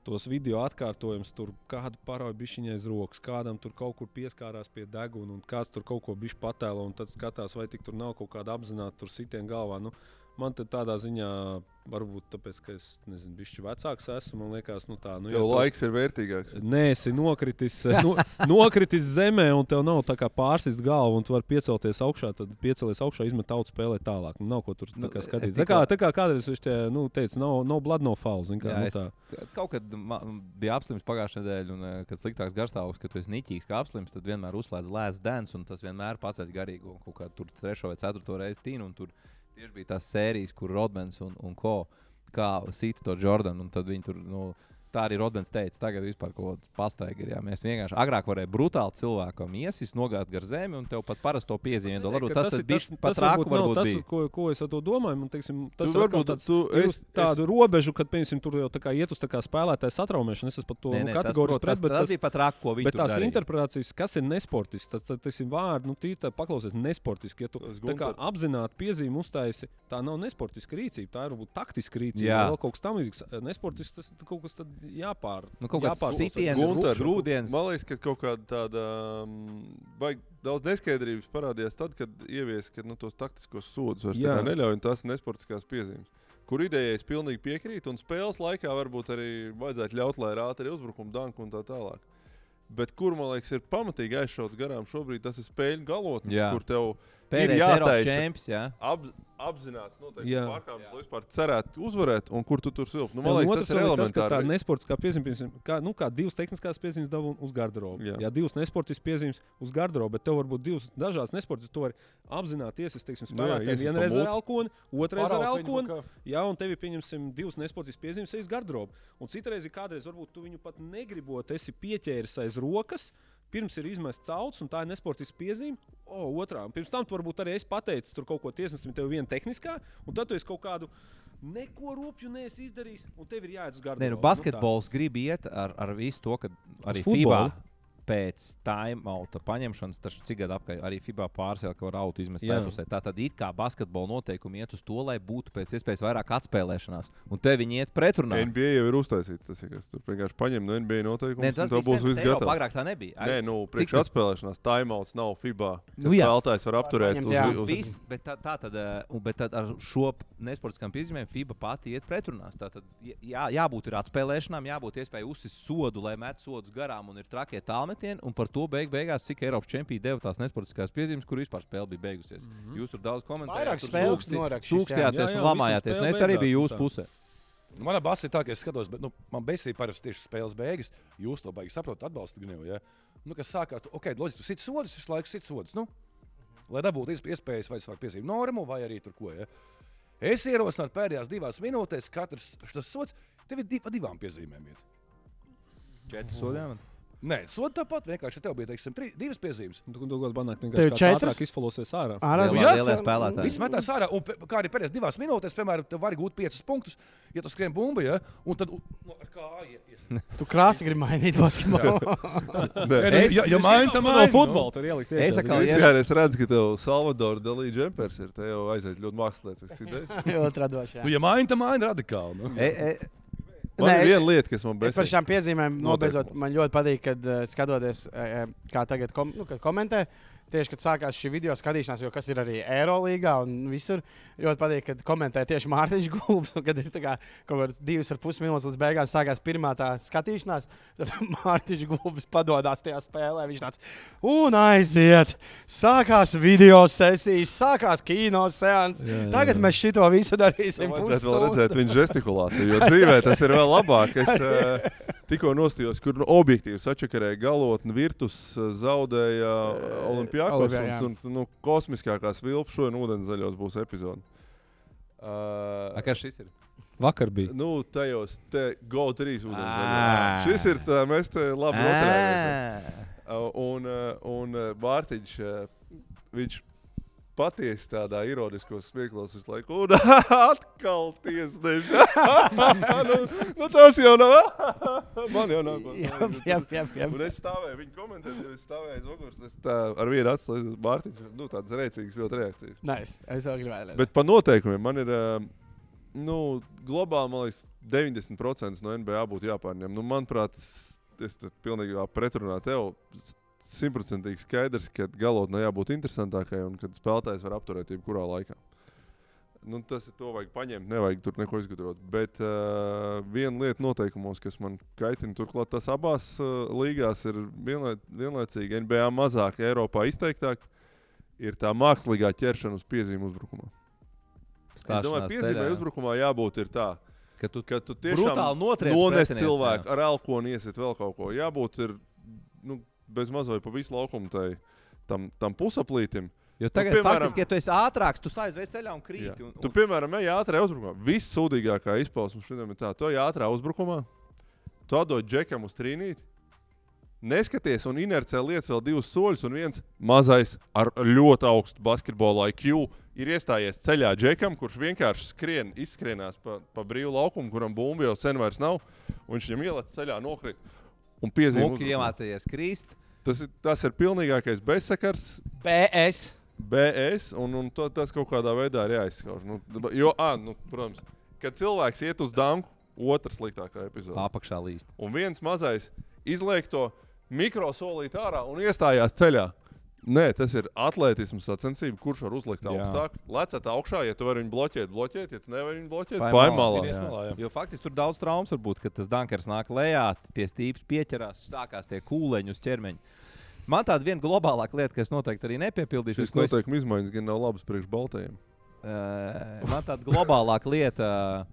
Tos video atkārtojumus, tur kādu paraugu bišķiņai aiz rokas, kādam tur kaut kur pieskārās pie deguna, un kāds tur kaut ko bišķi patēlo, un tad skatās, vai tik tur nav kaut kāda apzināta sitiena galvā. Nu, man te tādā ziņā, varbūt tāpēc, ka es nezinu, bišķi vecāks esmu, man liekas, nu tā, nu, Tev tu- laiks ir vērtīgāks. Nē, esi nokritis, no, nokritis zemē, un tev nav tā kā pārsist galva, un tu vari piecelties augšā. Tad piecelies augšā, izmet tautu spēlēt tālāk. Nu, nav ko tur tā Nu, kā es skatīties. Tā tikko- kā, tā kā kādreiz viņš te, nu, teica, nav no, no blood, no fouls. Kā, Jā, nu, es tā. t- kaut kad ma- biju apslims pagājušajā nedēļā, un eh, kad sliktāks garstāvoklis, kad tu esi niķīgs, kā apslims, tad vienmēr uzslēdz lēsts dēns, un tas vienmēr paceļ garīgo un kaut kā tur trešo vai ceturto reizi tīnu. un Tur tieši bija tās sērijas, kur Rodmans un, un Ko kā sīta to Jordanu, un tad viņi tur. Nu, Tā arī Rodmans teica, tagad vispār kaut kāda pastaigā ir. jā. Mēs vienkārši agrāk varējām brutāli cilvēkam iesist, nogāzt gar zemi un tev pat parasto piezīmi. dod. Varbūt Ka tas ir bijis tas pat rāku, nav varbūt tas, bija. ko, ko es ar to domāju. Man, teiksim, tas Tu ir varbūt tāds, tu- es- ir uz tādu robežu, kad, piemēram, tur jau tā kā iet uz tā kā spēlētāja satraumēšanu. Es esmu par to Nē, nu, nē, tas, kategoriski protams, pret, bet tas, tas tas bija pat rāku, ko viņi Bet tur tās darīja. interpretācijas, kas ir nesportisks, tas, tas, tas ir vārds, nu, tīri tā paklausies, nesportiski. Ja tu Tas tā kā Gunter. apzināti piezīmi uztaisi, tā nav nesportiska rīcība, tā ir varbūt taktiska rīcība. Jā. vai Vēl kaut kas tam līdzīgs. Eh, Nesportisks tas ir kaut kas tad jāpār. Nu, kaut kāds jāpārklausa. sitiens. Gunter, grūdienas. Man liekas, ka kaut kāda tāda um, baig- daudz neskaidrības parādījās tad, kad ieviesa ka, nu, tos taktiskos sodus vairs tā Jā. kā neļauj un tās nesportiskās piezīmes. Kur idejai es pilnīgi piekrītu, un spēles laikā varbūt arī vajadzētu ļaut, lai ir ātri uzbrukumi, danku un tā tālāk. Bet kur man liekas, ir pamatīgi aizšauts garām šobrīd, tas ir spēļu galotnes, Jā. kur tev Pēdējais ir Eiropas jātaisa. čempions. Jā. Ap, apzināts noteikti Jā. pārkāpums, lai vispār cerētu uzvarēt, un kur tu tur silp. Nu, Jā, man un liekas, otrs tas ir vēl tas, ka tā elementāri. nesportiskā piezīme, piemēram, kā, nu, kā divas tehniskās piezīmes dabū uz garderobu. Jā. Jā. jā, divas nesportiskas piezīmes uz garderobu, bet tev var būt divas dažādas nesportiskas. Tu vari apzināti iesaistīties, teiksim, Nu jā, spēlētājiem iesi pa vienreiz ar multi. alkoni, otrreiz ar Paraut viņu alkoni. pa kā- Jā, un tev ir pieņemsim divas nesportiskas piezīmes aiz garderobu. Un citreiz, ja kādreiz varbūt tu viņu pat negribot, esi pieķēries aiz rokas. Pirms ir izmests cauts, un tā ir nesportiska piezīme. O, otrā. Un pirms tam tu varbūt arī es pateicu, tur kaut ko tiesnesim, tev viena tehniskā, un tad tu esi kaut kādu neko rupju neesi izdarījis, un tev ir jāiet uz gardu. Nē, nu, basketbols grib iet ar, ar visu to, ka arī FIBA futbolu? pēc timeouta paņemšanas, taču cik gadu apkārt arī FIBA pārsēla, ka var autu izmest Jā. tajā pusē. Tā tad it kā basketbola noteikumi iet uz to, lai būtu pēc iespējas vairāk atspēlēšanās, un te viņi iet pretrunā. NBA jau ir uztaisīts. Tas ir kas tur vienkārši paņem no NBA noteikumus. Nē, Nē, tas tev būs viss gatavs. Agrāk tā nebija. Nē, Ar- nu, cik priekšā atspēlēšanās, timeouts nav FIBA. Nu Nu, jā. jā, spēlētājs var apturēt Paņemt, uz, jā. uz, Viss, bet tā, tā tad, eh, un- bet tad ar šo p- nesportiskām piezīmēm FIBA pati iet pretrunā. Tā tad jā- jā, jābūt ir atspēlēšanām, jābūt iespējai uzsist sodu, lai met sodus garām un ir trakie tālmetieni. Un par to beig beigās, cik Eiropas čempioni deva tās nesportiskās piezīmes, kur vispār spēle bija beigusies. Mm -hmm. Jūs tur daudz komentējāt, Vairāk tur spēles sūksti- norakstīs, jā. Mhm. Jā, sūkstījāties jā, un visas lamājāties. spēle un Es arī beidzās biju un jūsu tā. pusē. Nu, Manā basī ir tā, ka es skatos, bet nu, man besī parasti tieši spēles beigas. Jūs to beigas saprotat, atbalstīt gnievu. Ja? Nu, kas sākās, tu, ok, loģiski, tu sit sodus, visu laiku sit sodus. Nu, lai dabūtu izp- iespējas vai sākt piezīmēt normu vai arī tur ko. Ja? Es ierosinātu pēdējās divās minūtēs, katrs šis sots tev ir div, pa divām piezīmēm. Iet. Četri sodi. jā, man. Nē, sodu tāpat vienkārši ja tev bija teiksim, tri, divas piezīmes. Tu gudri banāk, Tev vienkārši kāds četras? ātrāk izfalosies ārā. Ārā Lielā- bija- lielie spēlētāji. Viss metās ārā, un pe- kā arī pēdējās divās minūtēs, piemēram, tev var gūt piecus punktus, ja tu skrien bumbu, ja? un tad u- nu, ar kāju ies. Tu krāsi gribi mainīt basketbolu. Es- nu, ja- ja maini, tad maini, no nu. futbola tur ielikt. Es iekšā. atkal- Es tikai es redzu, ka tev Salvadoru dalīja džempers. ir, Te jau aiziet ļoti mākslinieks. Ļoti radoši. jā. Nu, ja maini, tad maini radikāli. Nu. E, e, Man Nē, ir viena lieta, kas man Es par bezsmaksā. šām piezīmēm nobeidzot, Noteikti. man ļoti patīk, kad eh, skatoties, eh, eh, kā tagad kom, nu, kad komentē. Tieši kad sākās šī video skatīšanās, jo kas ir arī Eirolandā un visur, ļoti patīk, kad komentē tieši Mārtiņš Gulbs. un Kad ir tā kā kaut kāds divas ar pus minūtes līdz beigām sākās pirmā tā skatīšanās, tad Mārtiņš Gulbs padodas tajā spēlē. Viņš tāds un aiziet. Sākās video sesijas, sākās kino seanss. Jā, jā, Tagad jā. mēs šito visu darīsim. Vajadzētu vēl pusstundu. redzēt viņa gestikulāciju, jo dzīvē tas ir vēl labāk. Es eh, tikko nostājos, kur nu objektīvi sačakarēja galotni, virtus eh, zaudēja Olimpijākos Olimpijā, un jā. tur nu, kosmiskākās vilpas šodien ūdenzaļos būs epizode. Uh, Kas šis ir? Vakar bija. nu, tajos te GO3 ūdenzaļos. Ā. Šis ir tā, mēs te Ah. labi noturējāmies. Ā. Uh, un, uh, un uh, Mārtiņš, uh, viņš patiesi tādā ironiskos smieklos visu laiku, un atkal tiesneši. nu, nu, tas jau nav. Man jau nav. Jā, jā, jā, jā. Un es stāvēju, viņa komentēja, jo es stāvēju aiz muguras. un Es tā ar vienu atslēdzu Mārtiņš, nu, tādas rēcīgas ļoti reakcijas. Nice. Es vēl gribēju. Bet par noteikumiem man ir. ā, Nu, globāli, man liekas, 90% no NBA būtu jāpārņem. Nu, manuprāt, s- es te pilnībā pretrunā tev. S- Simtprocentīgi skaidrs, ka galotnē jābūt interesantākajai un ka spēlētājs var apturēt jebkurā laikā. Nu, tas ir to vajag paņemt, nevajag tur neko izgudrot. Bet uh, viena lieta noteikumos, kas man kaitina, turklāt tas abās uh, līgās ir vienlai, vienlaicīgi NBA mazāk, Eiropā izteiktāk, ir tā mākslīgā ķeršana uz piezīmju uzbrukumā. Es domāju, Stāšanās ka piezīmē ceļā. uzbrukumā jābūt ir tā, Ka tu ka tu brutāli tiešām notriec nonesi pretinieci, cilvēku ar elkonu, iesit vēl kaut ko. Jābūt ir, nu, bez mazliet pa visu laukumu tai, tam, tam pusaplītim. Jo tagad, nu, piemēram- piemēram, faktiski, ja tu esi ātrāks, tu stājies veids ceļā un krīt. Jā. Un, Tu, un, piemēram, ej ātrā uzbrukumā. Vissūdīgākā izpausme šodien ir tā, tu ej ātrā uzbrukumā, tu atdod džekam uz trīnīti. Neskaties, un inercē lietas vēl divus soļus, un viens mazais ar ļoti augstu basketbola IQ ir iestājies ceļā džekam, kurš vienkārši skrien, izskrienās pa, pa brīvu laukumu, kuram bumbu jau sen vairs nav, un viņš viņam ielaicis ceļā, nokrīt. Un piezīmēja, Muki iemācījies krīst. tas, ir- tas ir pilnīgākais bezsakars, BS. BS, un, un to, tas kaut kādā veidā arī aizskauž. Nu, b- jo, à, nu, protams, kad cilvēks iet uz dāmu, otrs sliktākā epizode. Apakšā līst. Un viens mazais izliek to mikrosolīt ārā un iestājās ceļā. Nē, tas ir atletisms sacensība, kurš var uzlikt Jā. augstāk. Lecēt augšā, ja tu vari viņu bloķēt, bloķēt, ja tu nevari viņu bloķēt, Paim paimālā. malā. Tinies malā, jā. Jo faktiski tur daudz traumas var būt, kad tas dunkers nāk lejā, pie stīpes pieķerās, stākās tie kūleņi uz ķermeņa. Man tāda viena globālāka lieta, kas noteikti arī nepiepildīsies, Šis ko es noteikuma izmaiņas gan nav labas priekš baltajiem. Eh, man tāda globālāka lieta,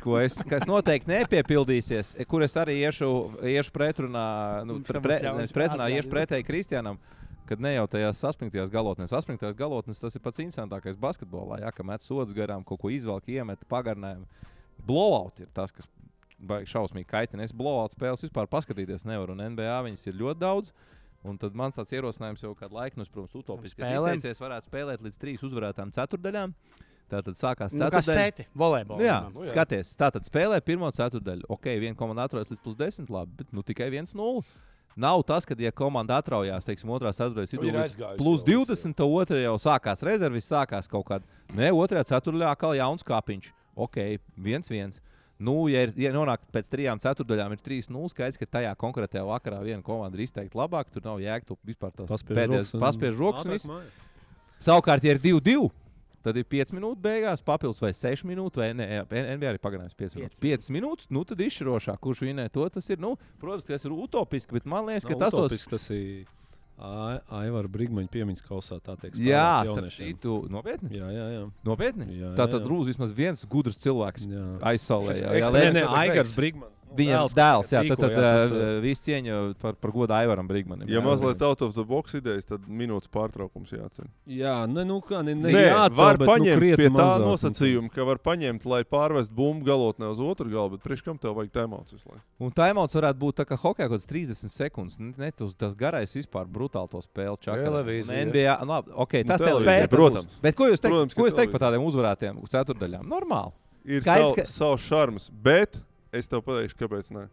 ko es, kas noteikti nepiepildīsies, eh, kur es arī iešu, iešu pretrunā, nu, Mums tam pre, būs jauns nevis pretrunā, iešu atgādinājums. pretēji Kristianam. Kad ne jau tajā saspringtajā galotnē, saspringtajā galotnē tas ir pats interesantākais basketbolā. Jā, ka met sodus garām, kaut ko izvelk, iemet pagarinājumu. Blowout ir tas, kas baigi šausmīgi kaitina. Es blowout spēles vispār paskatīties nevaru, un NBA viņas ir ļoti daudz. Un tad man tāds ierosinājums jau kādu laiku, nu, es, protams, utopisks. Es Spēlēm? izteicies, varētu spēlēt līdz trīs uzvarētām ceturdaļām. Tā tad sākās Nu, kā ceturtdaļa. sēti volejbolā. Nu, jā, Nu, jā. skaties, tā tad spēlē pirmo ceturdaļu. Ok, viena komanda atrodas līdz pusdesmit, labi, bet nu, tikai viens nulle. Nav tas, ka, ja komanda atraujās, teiksim, otrā ceturdaļā Nu, Ir vidū, aizgājusi plus jau, 20, tad otrā jau sākās rezerves, sākās kaut kāda. Nē, otrā ceturdaļā atkal jauns kāpiņš. Ok, viens, viens. Nu, ja, ir, ja nonāk pēc trijām ceturdaļām, ir 3-0. Skaidrs, ka tajā konkrētajā vakarā viena komanda ir izteikti labāka. Tur nav jēga, tu vispār tās Paspiež pēdējās rokas un- paspiež rokas. un Ātrāk viss. mājās. Savukārt, ja ir 2-2, tad ir 5 minūtes beigās, papildus vai 6 minūtes, vai ne, NBA arī pagarinājums 5 minūtes. 5 minūtes, nu tad izšķirošā, kurš vinē to, tas ir, nu, protams, tas ir utopiski, bet man liekas, ka Nav tas tos. utopiski, tas ir Ai- Aivara Brigmaņa piemiņas kausā. Tā tiek Jā, spēlēts starp jauniešiem. citu, nopietni. Jā, jā, jā. Nopietni. Jā, Tā jā, tad jā. rūs vismaz viens gudrs cilvēks Jā. aizsaulē. Šis jā, jā, eksperiments- Lēns- Nē, nē, Lēns- Aigars Brigmans. nu, Viņa dēls, dēls, jā, tad, kas tīko, tad jā, tas, eh, eh, uh, viss cieņa par, par godu Aivaram Brigmanam. Ja jā. mazliet out of the box idejas, tad minūtes pārtraukums jāatcer. Jā, ne, nu kā, ne, ne, Nē, jāatcer, var bet, paņemt nu, pie tā nosacījuma, ka var paņemt, lai pārvest bumbu galotnē uz otru galu, bet priekš kam tev vajag tēmāts visu laiku? Un taimauts varētu būt tā, ka hokeja kaut kāds 30 sekundes. N- Ne, tas, tas garais vispār brutāli to spēli. čakarē. Televīzija. Un NBA. Nu, labi, okay, Nu, tas televīzija, televīzija. protams. Bet ko jūs Protams, teikt, ka ko jūs teikt televīzija. par tādiem uzvarētiem ceturdaļām? Normāli. Ir Skaidrs, sav, ka- savs šarms, bet es tev pateikšu, kāpēc ne.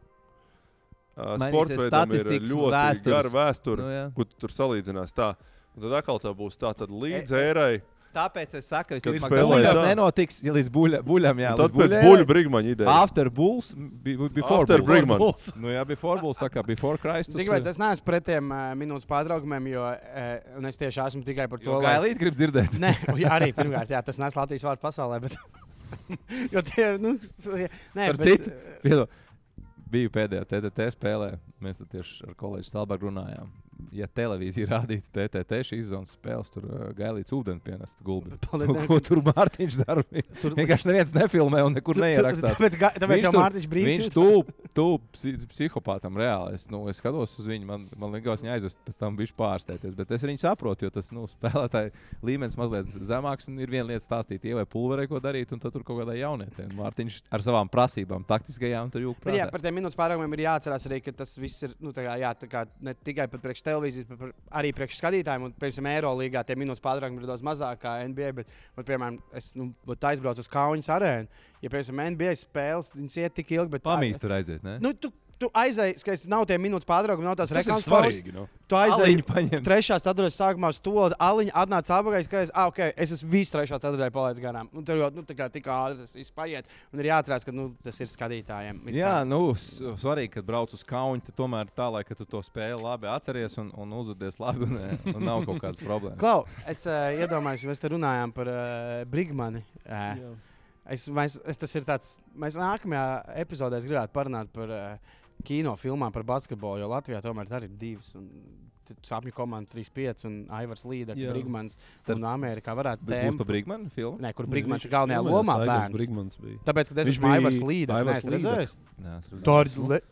Ā, Mainīsies Sportveidam ir statistikas un ļoti vēstures. gara vēsture, Nu, nu, jā. E, ko tu tur salīdzinās. Tā. Un Tad atkal tā būs tā, tad līdz ērai Tāpēc es saku, ka Kad tas spēlē, būs jā. nenotiks ja līdz buļa- buļam. Jā, Tad līdz pēc buļai- buļbuļu brigmaņa idejas. After Bulls, be- be- before After Bulls. Brick- Brigman. Bulls. Nu, jā, before Bulls, tā kā before Christus. Cik vajadz, es neesmu pret tiem uh, minūtes pārtraukumiem, jo uh, es tieši esmu tikai par to, to gailīt, grib dzirdēt. Nē, un jā, arī pirmkārt, jā, tas nes Latvijas vārdu pasaulē. Bet... jo tie ir. Nu, s- nē, eh, Par citu, Piedod, biju pēdējā TTT spēlē. Mēs tad tieši ar kolēģi Stalbergu runājām. Ja televīzija rādītu TTT šīs zonas spēles, tur uh, gailīts ūdeni pienest gulbi. Paldies Ko- Dievam, Ko ka- tur Mārtiņš dara? Tur vienkārši neviens nefilmē un nekur neierakstās. Tāpēc, ga- tāpēc Viņš jau tur- Mārtiņš brīnās. Viņš tuvu tu, psi- psihopātam reāli. Es, nu, es skatos uz viņu, man, man liekas, viņa aizvest, pēc tam viņš pārsteigties. Bet es viņu saprotu, jo tas nu, spēlētāji līmenis mazliet zemāks. un Ir viena lieta stāstīt, ievai pulverē, ko darīt, un tad tur kaut kādā jaunietē. Un Mārtiņš ar savām prasībām, taktiskajām, tur jūg Bet, jā, prātā. par tiem minūtes pārtraukumiem ir jāatcerās arī, ka tas viss ir nu, tā kā, jā, tā kā, ne tikai pat priekš televīzijas, bet par- arī priekš skatītājiem. Un, piemēram, Eirolandā tie minūtes pārtraukumi ir daudz mazāk kā NBA. Bet, un, piemēram, es nu, būtu aizbraucis uz Kaunas arēnu. Ja, piemēram, NBA spēles, viņas iet tik ilgi, bet Pamīst tur aiziet, ne? Nu, tu, tu aizēji, ka es nav tie minūtes pārtraukumi, nav tās Tas ir reklāmas pauzes. svarīgi. Nu. Tu aizēji Aliņu paņem. Trešā ceturtajā sākumā stūlīja aliņa, atnāca apgājis, ka es, ah, okay, es esmu visu trešā ceturtajā palaidis garām. Un tur jau nu, tā kā tik ātri tas viss paiet. Un ir jāatcerās, ka nu, tas ir skatītājiem. Ir Jā, tā. nu, s- svarīgi, kad brauc uz kaunu, tad tomēr tā, lai ka tu to spēli labi atceries un, un uzvedies labi. Un, un nav kaut kādas problēmas. Klau, es uh, iedomājos, mēs te runājām par uh, Brigmani. Uh, Jā. Es, mēs, es, tas ir tāds, mēs nākamajā epizodē es gribētu parunāt par uh, kino filmām, par basketbolu, jo Latvijā tomēr tā ir divas. Un, tad Sapņu komanda 3-5 un Aivars Līders, Jā. Brigmans. Starp- Un Amerikā varētu Bet būs būt pa Brigmanu filmu? Nē, kur Nu, Brigmans viņš ir galvenajā filmējās, lomā? Aigars bērns. Brigmans bija. Tāpēc, ka tas Viņš esmu Aivars bija Līders, Aivars neesmu redzējis. Nē, es Tā ir Nu, le-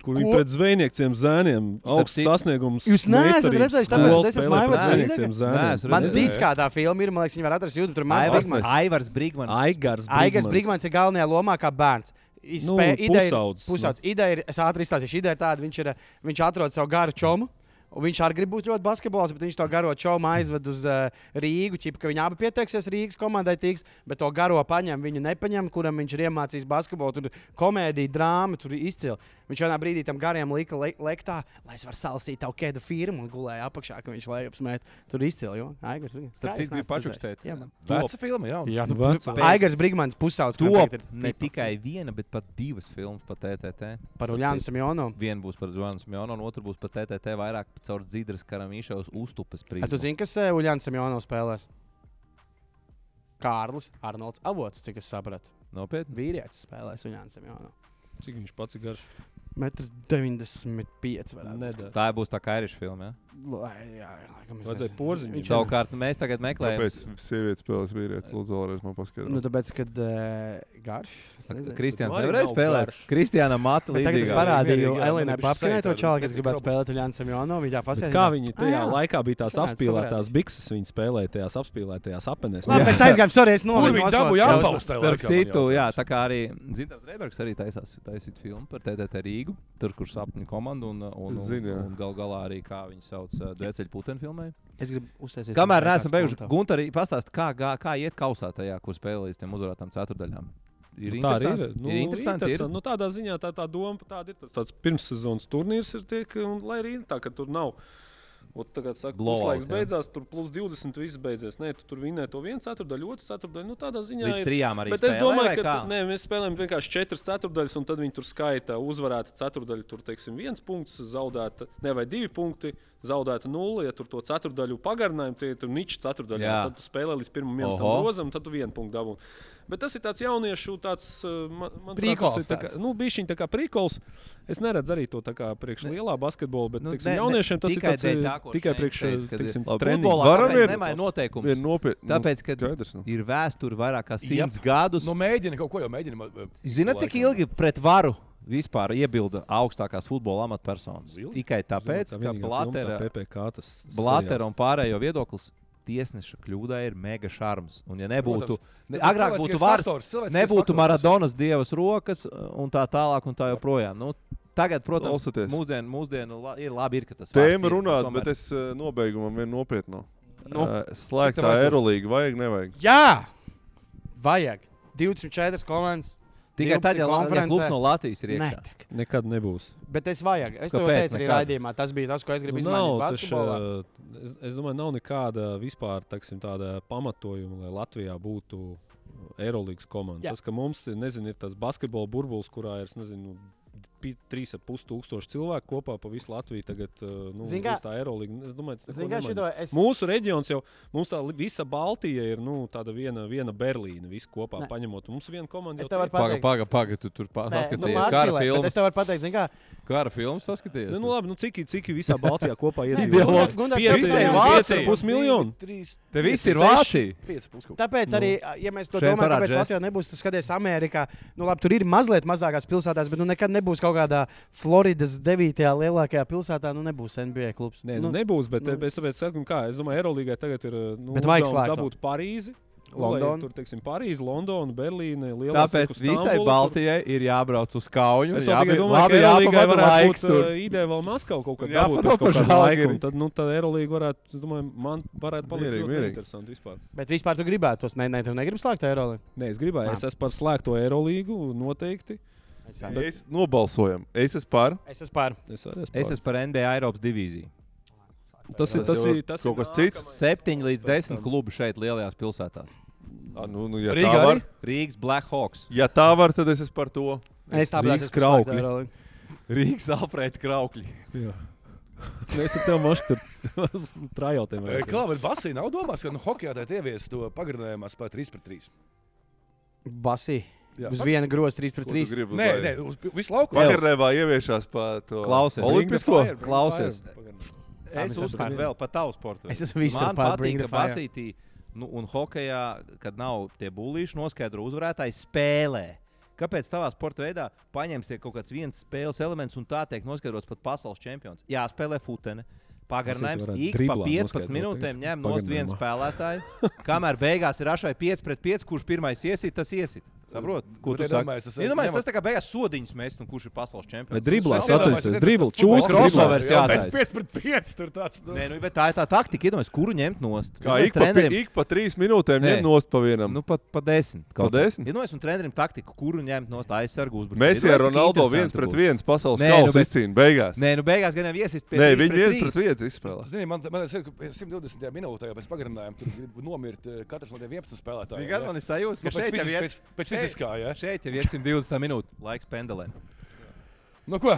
Kur viņi Ko? pret zvejniekiem zēniem augsts citu- sasniegums. Jūs neesat redzējuši, tāpēc es esmu Aivars zvejniekiem Līdera? zēniem. Nē, Man Redzēju, diskā tā filma ir, man liekas, viņi var atrast YouTube. Tur mazs Aivars, Brigmans. Aivars Brigmans. Aigars Aigars Brigmans ir galvenajā lomā kā bērns. I- Nu, spē- ideja ir- pusaudzis, nu. Pusaudzis. Ideja ir, es ātri izstāstīšu, ideja ir tāda, viņš, ir, viņš atrod savu garu čomu. Un viņš arī grib būt ļoti basketbols, bet viņš to garo čomu aizved uz uh, Rīgu. Čip, ka viņi abi pieteiksies Rīgas komandai, tiks, bet to garo paņem, viņu nepaņem, kuram viņš ir iemācījis basketbolu. Tur komēdija, drāma, tur izcili. Viņš vienā brīdī tam garajam lika le lektā, lai es varu salasīt tavu kēdu firmu un gulēju apakšā, ka viņš lejups met. Tur izcili, jo Aigars. viņa- Starp kā citu, es neesmu gribu redzējis. pačukstēt. Jā, man. Veca filma, jā. Jā, nu, Pēc- Aigars Brigmans pusaudzis. kuram Top tagad ir ne tikai viena, bet pat divas filmas par TTT. Par Starp Uljānu citu, Simjonu. Viena būs par Džonu Smjonu, un otra būs par TTT vairāk caur Dzīdras karamīšos uztupes Ar tu prīzi. zini, kas uh, Uljāns Simjonu spēlēs? Kārlis Arnolds Avots, cik es sapratu. Nopietni. Vīrietis spēlēs Uljāns Simjonu. Cik viņš pats ir garš? Metrs 95 varētu. Nedēļ. Tā būs tā kā Airiša filma. Lai, jā, laikam es Vajadzēja nezinu. porziņu. Ja? Viņš jau kā. Savukārt mēs tagad meklējam. Kāpēc sieviete spēlēs vīrieti? Lūdzu, vēlreiz man paskaidro. Nu, tāpēc, kad uh, garš. es Saka, nezinu. Kristians Vai nevarēja nav spēlēt. garš? Kristiāna Mata Bet Tagad es līdzīgā. parā- parādīju Mierīgi, jā, Elenai nu, man ir Papkinai to saita, čalu, kas bet gribētu robust. spēlēt Uljānu Simjonu. Viņa Bet pasēdīja. kā viņi tajā Ah, jā. laikā bija tās Ah, jā, es apspīlētās sapratu. bikses, viņi spēlēja tajās apspīlētajās apenēs. Labi, mēs aizgājām, sorry, es Kur nolēmu. viņi dabūja atbalstu? tajā Starp laikā, man citu, jā, jautājums? tā kā arī Ziedants Reibergs arī taisās, taisīt filmu par TTT Rīgu, tur, kur sapņu komandu un, un, Es un, zinu, jā. un gal galā arī, kā viņi sauc, uh, Dēceļu putekļu filmai. Es gribu uztaisīt. Kamēr neesam beiguši, Gunter, pastāsti, kā, gā- kā iet kausā tajā, kur spēlējas tiem uzvarētām ceturdaļām. Ir Nu, tā arī ir. interesanti? ir interesanti. interesanti. Nu, tādā ziņā tā, tā doma par tādu ir. Tas tāds pirmssezonas turnīrs ir tiek, un lai arī tā, ka tur nav. Ot, tagad, saka, Blowout, puslaiks jā. beidzās, tur plus 20 viss beidzies. Nē, tu tur vinnē to vienu ceturdaļu, otru ceturdaļu. Nu, tādā ziņā Līdz ir- trijām arī. Bet es spēlē, vai domāju, ka kā? nē, mēs spēlējam vienkārši četras ceturdaļas, un tad viņi tur skaita uzvarēta ceturdaļa. Tur, teiksim, viens punkts, zaudēta, ne, vai divi punkti, zaudēta nulle. Ja tur to ceturdaļu pagarinājumu, tie ir niķi ceturdaļā. Jā. Tad tu spēlē līdz pirmam Oho. minūtam grozam, tad tu vienu punktu dabū. Bet tas ir tāds jauniešu, tāds, uh, man, man Prīkols tas ir tā kā, tāds. nu, bišķiņ tā kā prīkols. Es neredzu arī to tā kā priekš lielā basketbola, bet, Nu, nu, ne- teiksim, ne- jauniešiem tas ir tikai tāds, dēļ uh, tā, ko tikai Šmēns priekš, teica, uh, ka teiksim, labi, treniņu. Futbolā Varam kāpēc ir- nemaina Ir noteikumus. nopietni. Tāpēc, ka Skaidrs, nu. ir vēsture vairāk Jep. kā simts gadus. Nu, mēģini kaut ko jau mēģini. eh, Ziniet, cik ilgi pret varu vispār iebilda augstākās futbola amatpersonas? Ilgi? Tikai tāpēc, ka Blatera, PPC tas Blatera un pārējo viedoklis. Tiesneša kļūda ir mega šarms. Un, ja nebūtu, Protams. ne, Tas ir agrāk būtu cilvēciskais vārds, faktors, cilvēciskais nebūtu faktors. Maradonas dievas rokas uh, un tā tālāk, un tā joprojām. Nu, tagad, protams, Klausoties. mūsdienu, mūsdienu la, ir labi, ir, ka tas vārds Tēma ir, runāt, tomēr- bet es eh, nobeigumam vienu nopietnu. Nu, Eh, cik tev Slēgtā aizdodas? aerolīga vajag, nevajag. Jā! Vajag 24 komandas, Tikai tad, ja, la- ja konferencē. klubs no Latvijas ir iekšā. Nē, Nekad nebūs. Bet es vajag. Es to Kāpēc teicu arī nekad? raidījumā. Tas bija tas, ko es gribēju Nu, izmantot nav, taču, basketbolā. eh, es, es domāju, nav nekāda vispār taksim, tāda pamatojuma, lai Latvijā būtu eh, Eirolandes komanda. Jā. Jā. Tas, ka mums ir, nezinu, ir tas basketbola burbulis, kurā ir es nezinu, pi- trīs ar pus tūkstoši cilvēku kopā pa visu Latviju. Tagad, eh, nu, Zini, kā- visa tā Eirolanda. Es domāju, tas Zini, kā ir šito es- Mūsu reģions jau, mums tā li- visa Baltija ir nu, tāda viena, viena Berlīna, visu kopā Nē. ne. paņemot. Mums viena komanda Es tev jau varu Pagaid, tiek- pateikt. pagaid, pagaid, tu tur Nē, nu, paskaties, kā ar pārspīlēt, bet filmu. Es tev varu pateikt, zini, kā Kā ar filmu saskaties? Nu, nu, labi, nu, cik ir cik ir visā Baltijā kopā Gunārs, iedzīvotāji? Gunārs, tev Pieci- ir pieci ar Vācija. pus miljonu. Nu. Te viss Pieci, ir seši. Vācija. Pieci nu, pusi kaut kā. Tāpēc arī, ja mēs to Šeit domājam, parāda kāpēc žestu. Latvijā nebūs, tad skaties, Amerikā, nu, labi, tur ir mazliet mazākās pilsētās, bet nu, nekad nebūs kaut kādā Floridas 9. lielākajā pilsētā, nu nebūs NBA klubs. Nē, nu, nebūs, bet nu, nu, es tāpēc saku, nu kā, es domāju, Eirolandai tagad ir nu, Bet vajag uzdevums slēgt to. dabūt Parīzi. nu, lai Londonu. Tur, teiksim, Parīzi, Londonu, Berlīni, Lielā Tāpēc visai Baltijai ir jābrauc uz Kauju. Es un jau jābi- domāju, labi ka Eirolandai jāpavada varētu laiks būt tur. tur. ideja vēl Maskavā kaut kad Jā, dabūt pat uz kaut par kādu Žalgiri. laiku. un Tad, nu, tad Eirolanda varētu, es domāju, man varētu palikt Mierīgi, ļoti mierīgi. interesanti vispār. Bet vispār tu gribētu tos, nē, nē, tev negrib slēgt aeroli. Nē, es gribēju, es esmu par slēgto Eirolandu noteikti. Bet- Es nobalsojam. Es esmu par. Es esmu pār. Es arī esmu. Es esmu par NBA Eiropas divīziju. par- Tas ir tas, jau ir- tas ir kaut kas cits. Septiņi līdz Pēc desmit tam. klubu šeit lielajās pilsētās. Ah, nu, nu, ja, Rīgā tā var, arī? Rīgas Blackhawks, ja tā var, tad es esmu par to. Es tāpēc Rīgas esmu par slēgto kraukli. aeroli. Rīgas Alfrēda Kraukļi. Jā. Mēs ar tevi mašķi tur trajautiem. E, Kā bet basī nav domāts, ka nu, hokeja tā ievies to pagarinājumu spēlēt 3 pret 3. Basī. Jā. Uz viena groza 3 pret 3. Gribu, Nē, nē, uz pi- visu lauku. Pagarnēvā ieviešās pa to Klausies. olimpisko. Fire, Klausies. Fire, pagarinājums. Tā Es mēs esam uzskatu, vēl par tavu sportu. Es esmu visur Man par Bring patīk, ka the Fire. basītī nu, un hokejā, kad nav tie būlīši, noskaidro uzvarētājs spēlē. Kāpēc tādā sporta veidā paņems tie kaut kāds viens spēles elements un tā tiek noskaidrots pat pasaules čempions? Jā, spēlē futene. Pagarinājums varētu ik pa driblā 15 noskaidrot minūtēm tagad. ņem no viena Pagarinājumā. spēlētāja. Kamēr beigās ir ašai 5 pret 5, kurš pirmais iesit, tas iesit. Saprot? Ko Bet tu iedomājies, domāji? tas- Iedomājies, tas tā kā beigās sodiņus mest un kurš ir pasaules čempions. Bet driblās Iedomājies, atcerieties, tas- dribble, tas čūska, futbols. crossovers Jā, jātaisa. pēc 5 pret 5 tur tāds. nu. Nē, nu, bet tā ir tā taktika, iedomājieties, kuru ņemt nost. Kā Nu, ik pa, pi- trenerim- ik pa trīs minūtēm Nē. ņem nost pa vienam. Nu, pat pa desmit. Pa desmit? Ja, nu, es un trenerim taktiku, kuru ņemt no tā aizsargu uzbrukumu. Mēs ar Ronaldo viens pret viens pasaules Nē, nu, bet- kausa izcīnīja beigās. Nē, nu beigās gan jau iesist pie Nē, trīs viņi pret viens trīs. pret viens izspēlē. Zini, man, man ir 120 minūtē, jau pēc pagarinājuma tur grib nomirt eh, katrs no tiem 11 spēlētājiem. Zini, kad man ir sajūta, Nu, ka pēc, šeit jau fizis, ir pēc, pēc fiziskā, jā. Šeit jau ir 120 minūtes laiks pendelēm. Nu, ko?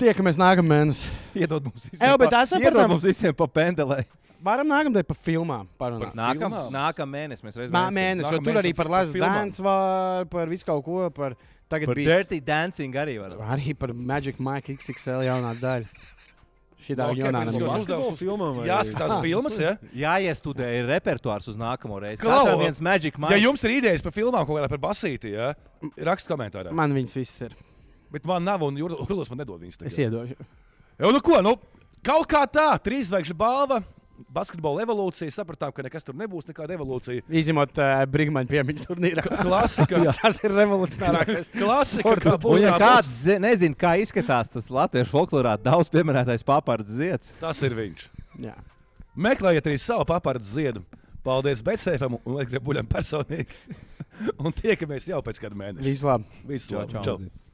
Tiekamies nākamā mēnesī. Iedod mums visiem, Ej, bet pa, esam par iedod tām- mums visiem pa pendelē. Varam nākamajā par filmām parunāt. Nākamā nākam mēnesis mēs reizē. Mā mēnesis, jo Nākamā tur mēnesi arī par par Latvijas filmām. dance var, par visu kaut ko, par tagad Par bija Dirty Dancing arī varam. arī par Magic Mike XXL jaunā daļa. Šī tā Nu, ok, jau nav. bet es Uz jau- nebūs. basketbola filmām vai- Jāskatās filmas, jā. Jāiestudē ir repertuārs uz nākamo reizi. Klau! Kā viens Magic Ja Mike. jums ir idejas par filmām, kaut kādā par basīti, jā, rakstiet komentārā. Man. Man viņas viss ir. Bet man nav, un Jurlis man nedod viņas. Es tagad. iedošu. Jo, nu, ko, nu, kaut kā tā, trīs zvaigžņu balva. Basketbola evolūcija, sapratām, ka nekas tur nebūs, nekāda evolūcija. Izņemot uh, Brigmaņa piemiņas turnīrā. Klasika, Tas ir revolucionārākais. klasika kā Un, būs. ja tā kāds būs. ze- nezina, kā izskatās tas latviešu folklorā daudz pieminētais papārds zieds, Tas ir viņš. Jā. Meklējiet arī savu papardu ziedu. Paldies Betsēpam un Ligribuļam personīgi. un tiekamies jau pēc kāda mēneša. Viss labi. Visu labu! Čau. Čau.